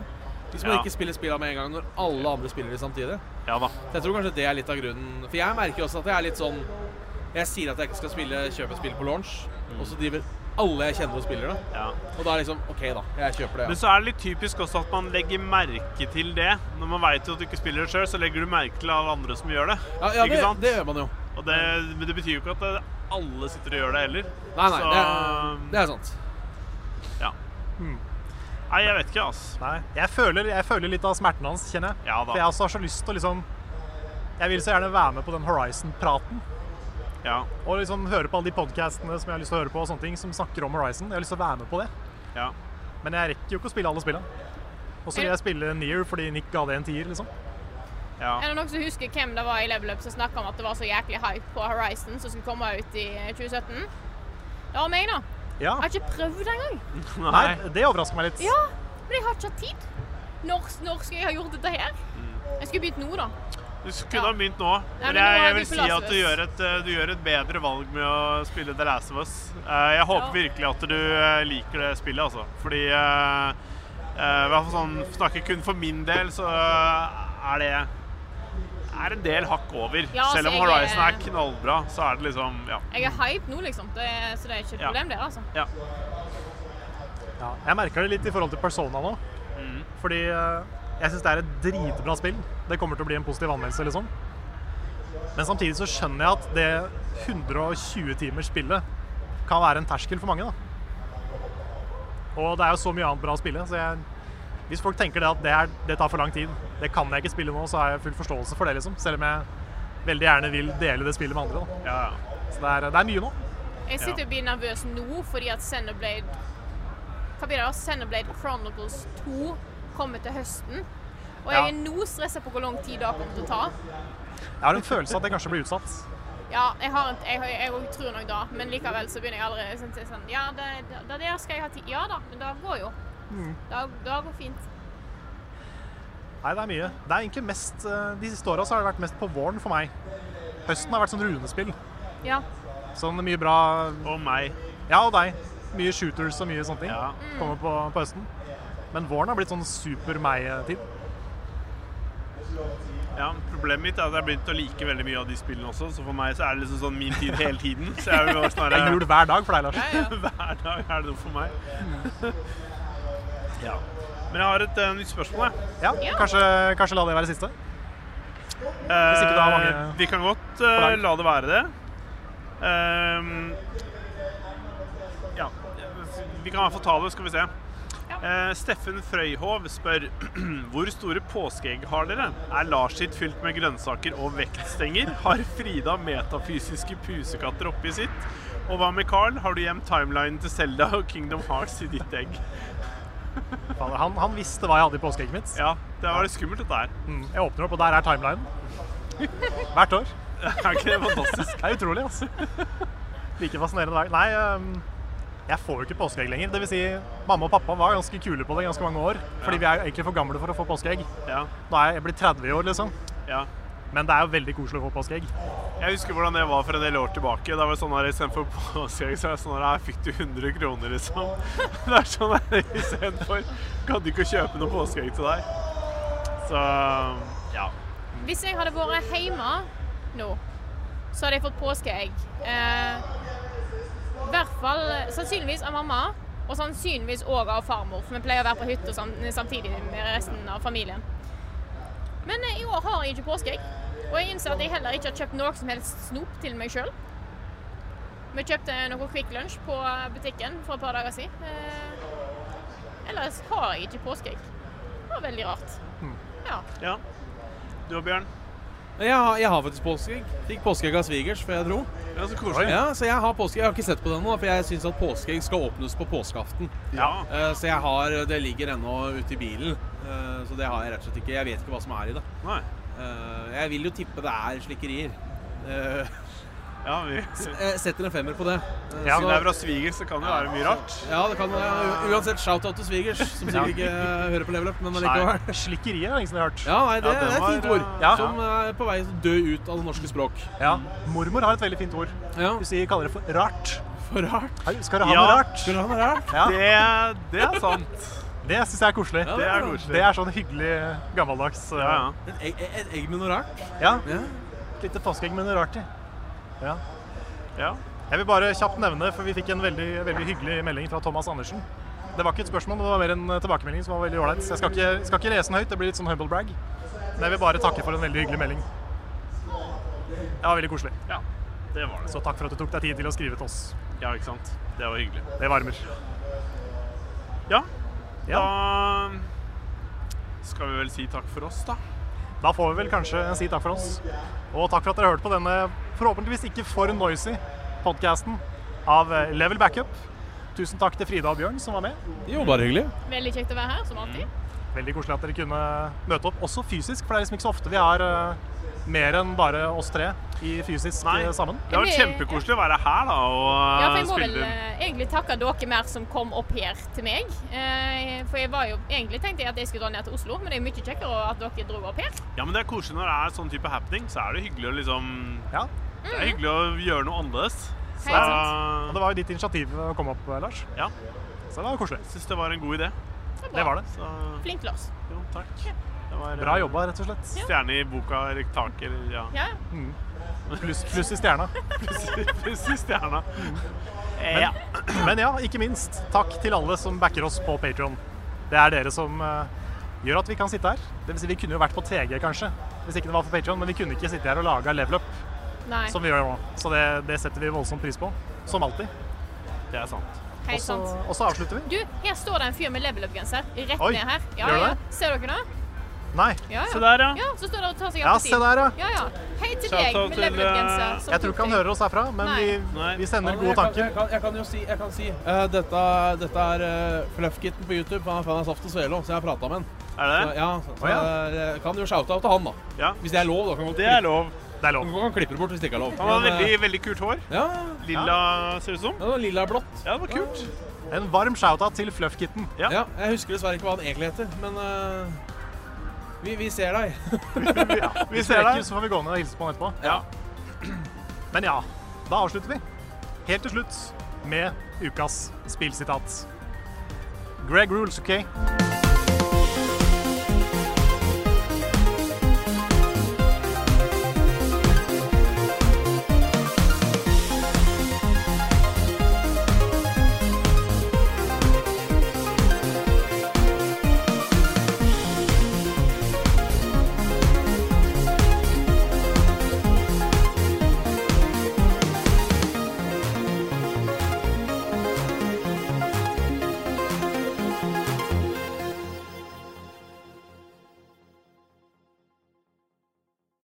Hvis man
Ja.
ikke spiller spillene med en gang når alle andre spiller de samtidig.
Ja da.
Så jeg tror kanskje det er litt av grunnen. For jeg merker jo også at jeg er litt sånn Jeg sier at jeg ikke skal spille kjøpe spill på launch, og så driver alle jeg kjenner og spiller det.
Ja.
Og da er det liksom OK, da. Jeg kjøper det.
Men
Ja.
så er det litt typisk også at man legger merke til det. Når man veit at du ikke spiller det sjøl, så legger du merke til alle andre som gjør det.
Ja, ja det,
ikke sant?
det gjør man jo.
Og det, men det betyr jo ikke at det- alle sitter og gjør det heller.
Nei, nei,
så,
det, det er sant.
Ja. Hmm. Nei, jeg vet ikke, altså.
Nei. Jeg føler, jeg føler litt av smerten hans, kjenner jeg.
Ja da.
For jeg også har så lyst til å liksom Jeg vil så gjerne være med på den Horizon-praten.
Ja.
Og liksom høre på alle de podkastene som jeg har lyst til å høre på, og sånne ting som snakker om Horizon. Jeg har lyst til å være med på det.
ja.
Men jeg rekker jo ikke å spille alle spillene. Og så vil jeg spille Near fordi Nick ga det en tier, liksom.
ja.
Er det noen som husker hvem det var i Level Up som snakka om at det var så jæklig hype på Horizon som skulle komme ut i 2017? Det var meg, da.
Ja.
Jeg har ikke prøvd det engang.
Nei,
Nei.
det overrasker meg litt.
Ja, men jeg har ikke hatt tid. Når, når skal jeg ha gjort dette her? Jeg skulle begynt nå, da.
Du s-
Ja.
kunne ha begynt nå.
Nei, men
Men
nå
jeg,
er
jeg
vi på
vil si at
Last of
du
Us.
gjør, et, eh, du gjør et bedre valg med å spille The Last of Us. Eh, Jeg håper
Ja.
virkelig at du eh, liker det spillet, altså. Fordi eh, eh, i hvert fall sånn, Snakker kun for min del, så eh, er det er en del hakk over.
Ja, altså,
Selv om
jeg
Horizon
er-
er knallbra, så er det liksom Ja.
Jeg er hype nå, liksom. Det, er- så det er ikke et
Ja.
problem, det, altså.
ja.
Ja, jeg merker det litt i forhold til Persona nå. Fordi eh, jeg syns det er et dritbra spill. Det kommer til å bli en positiv anmeldelse, liksom. Men samtidig så skjønner jeg at det 120 timers spillet kan være en terskel for mange, da. Og det er jo så mye annet bra å spille, så jeg Hvis folk tenker det at det, er, det tar for lang tid, det kan jeg ikke spille nå, så har jeg full forståelse for det, liksom. Selv om jeg veldig gjerne vil dele det spillet med andre,
ja, ja.
da. Så det er, det er mye nå.
Jeg sitter og blir nervøs nå fordi at Xenoblade Hva blir det da? Xenoblade Chronicles 2 kommer til høsten. Og jeg
Ja.
er nå stressa på hvor lang tid det kommer til å ta.
Jeg har en følelse av at det kanskje blir utsatt.
Ja, jeg, har, en- jeg, har- jeg, jeg tror nok da, men likevel så begynner jeg allerede sånn, til sånn Ja, det, det, det der skal jeg ha tid Ja da, men det går jo. Det, det går fint.
Nei, det er mye. Det er egentlig mest, eh, De siste åra har det vært mest på våren for meg. Høsten har vært sånn runespill.
Ja.
Sånn mye bra
Og meg.
Ja, og deg. Mye shooters og mye sånne ting
Ja.
kommer på, på høsten. Men våren har blitt sånn super meg-tid.
Ja, Problemet mitt er at jeg har begynt å like veldig mye av de spillene også, så for meg så er det liksom sånn min tid hele tiden. Så jeg vil bare
Det
snarere
er jul hver dag for deg, Lars.
ja.
Hver dag er det noe for meg. ja. Men jeg har et eh, nytt spørsmål, jeg.
Ja,
Ja.
kanskje, kanskje la det være siste?
Hvis
ikke du har mange
Vi kan godt eh,
forlag.
la det være det. Ehm, ja. Vi kan i hvert fall ta det, skal vi se. Eh, Steffen Frøyhov spør Hvor store påskeegg har dere? Er Lars sitt fylt med grønnsaker og vektstenger? Har Frida metafysiske pusekatter oppi sitt? Og hva med Carl? Har du gjemt timelinen til Selda og Kingdom Hearts i ditt egg?
Fader, Han, han visste hva jeg hadde i påskeegget mitt.
Ja, det var litt skummelt dette her.
Mm, Jeg åpner opp, og der er timelinen. Hvert år.
Er ikke det fantastisk?
Det er utrolig, altså. Like fascinerende dag. Nei, ehm, jeg får jo ikke påskeegg lenger. Det vil si, mamma og pappa var ganske kule på det i ganske mange år. Fordi vi er jo egentlig for gamle for å få påskeegg.
Ja,
Nå er jeg, jeg blitt 30 i år, liksom.
ja.
Men det er jo veldig koselig å få påskeegg.
Jeg husker hvordan det var for en del år tilbake. Da var det sånn her, Istedenfor påskeegg så var det sånn her, her fikk du 100 kroner, liksom. Det er sånn her istedenfor. Kan du ikke kjøpe noe påskeegg til deg? Så ja.
Hvis jeg hadde vært hjemme nå, så hadde jeg fått påskeegg. Eh, I hvert fall eh, sannsynligvis av mamma, og sannsynligvis òg av farmor. For vi pleier å være på hytta sam samtidig med resten av familien. Men eh, i år har jeg ikke påskeegg. Og jeg innser at jeg heller ikke har kjøpt noe som helst snop til meg sjøl. Vi kjøpte noe Quick Lunch på butikken for et par dager siden. Eh, ellers har jeg ikke påskeegg. Det var veldig rart. Ja.
ja. Du og Bjørn?
Jeg har, jeg har faktisk påskeegg. Fikk påskeegg av svigers før jeg dro.
Ja, så koselig.
Ja, så jeg har påskeegg. Jeg har ikke sett på den nå, for jeg syns at påskeegg skal åpnes på påskeaften.
Ja.
Eh, Så jeg har Det ligger ennå ute i bilen. Eh, Så det har jeg rett og slett ikke. Jeg vet ikke hva som er i det.
Nei.
Eh, Jeg vil jo tippe det er slikkerier. Eh,
Ja, vi
Jeg setter en femmer på det. Eh, så-
ja, men det er fra sviger, så kan det være mye rart.
Ja, det kan ja, u- Uansett, shout-out til svigers, som sikkert ikke eh, hører på Level Up, men allikevel.
Nei, slikkeriet er det ingen som har hørt.
Ja, nei, det,
Ja, den
det er et fint
var,
ord.
ja.
Som er på vei til å dø ut av det norske språk.
Ja. Mormor har et veldig fint ord.
Ja,
Hun sier, kaller det for rart.
for rart.
Hei, Skal du ha
Ja.
noe rart?
Skulle han være rart?
Ja,
Det, det er sant.
det syns jeg er koselig.
Ja,
Det er
Det
koselig.
er sånn hyggelig gammeldags. eh,
Ja, ja.
Et egg, et egg med noe rart?
ja.
Ja.
Et lite påskeegg med noe rart i. Ja.
ja.
Jeg vil bare kjapt nevne, for vi fikk en veldig, veldig hyggelig melding fra Thomas Andersen. Det var ikke et spørsmål, men det var mer en eh, tilbakemelding som var veldig ålreit. Så jeg skal ikke, skal ikke lese den høyt, det blir litt sånn humble brag. Men jeg vil bare takke for en veldig hyggelig melding. Det var veldig koselig.
ja. Det var det.
Så takk for at du tok deg tid til å skrive til oss.
Ja, ikke sant. Det var hyggelig.
Det varmer.
Ja,
Ja,
Da skal vi vel si takk for oss, da.
da får vi vel kanskje si takk for oss. Og takk for at dere hørte på denne forhåpentligvis ikke for noisy podcasten av eh, Level Backup. Tusen takk til Frida og Bjørn som var med.
Jo, bare hyggelig.
Veldig kjekt å være her, som alltid.
Mm. Veldig koselig at dere kunne møte opp, også fysisk, for det er liksom ikke så ofte vi har eh, mer enn bare oss tre i fysisk
Nei.
eh, sammen.
Det har vært kjempekoselig å være her da, og
Ja, for jeg må vel
spille inn.
eh, egentlig takke dere mer som kom opp her til meg. Eh, For jeg var jo egentlig tenkte jeg at jeg skulle dra ned til Oslo, men det er jo mye kjekkere at dere dro opp her.
Ja, men det er koselig når det er sånn type happening, så er det hyggelig å liksom
Ja,
Det er hyggelig å gjøre noe annerledes. Så
Mm. Helt
og Det var jo ditt initiativ å komme opp, eh, Lars,
ja,
så det var koselig.
syns det var en god idé.
er
Det var det.
Så
Flink Lars.
jo, takk. Det var, eh,
Bra jobba, rett og slett.
Stjerne i boka eller taket eller ja.
Ja,
Pluss pluss i stjerna.
Plutselig stjerna.
Mm.
Men, men ja, ikke minst, takk til alle som backer oss på Patreon. Det er dere som eh, gjør at vi kan sitte her. Det vil si, vi kunne jo vært på TG, kanskje, hvis ikke det var for Patreon, men vi kunne ikke sitte her og lage level up,
nei,
som vi gjør nå. Så det, det setter vi voldsomt pris på, som alltid.
Det er sant.
Og
helt
så
sant.
og så avslutter vi.
Du, her står det en fyr med level up-genser rett
Oi,
ned her. Ja,
gjør det
ja.
det?
Ser dere det?
Nei.
Ja,
Se
ja.
der, ja.
Ja, så står det og tar seg
Ja,
av
se der, ja.
Ja, ja. Hei til
Shout
deg
out
med
til,
level up-genser.
eh,
som
Jeg tror
tok
ikke han
deg.
hører oss herfra, men vi,
Nei.
vi sender
Jeg
gode
kan, jeg,
tanker.
kan, jeg kan jo si, jeg kan si eh, dette, dette er uh, Fluffkitten på YouTube. Han er fan av Saft og Svele, så jeg har prata med han.
Er det
Så,
det?
ja, så, så,
Å, ja.
eh, jeg kan jo shout-out til han, da.
Ja.
Hvis det er lov, da. Kan
Det er lov.
Det er lov.
Du kan klippe det bort hvis det ikke er lov.
Han har
Men, eh,
veldig, veldig kult hår.
Ja,
Lilla, ser det ut som.
ja det var lilla blått.
Ja, det var kult.
En varm shout-out til Fluffkitten.
Ja.
Ja, jeg husker dessverre ikke hva han egentlig heter, men eh, vi, vi ser deg.
Vi
Hvis
ser
det rekker,
deg.
Så får vi gå ned og hilse på han etterpå.
Ja.
Men ja, da avslutter vi. Helt til slutt med ukas spillsitat. Greg rules, OK?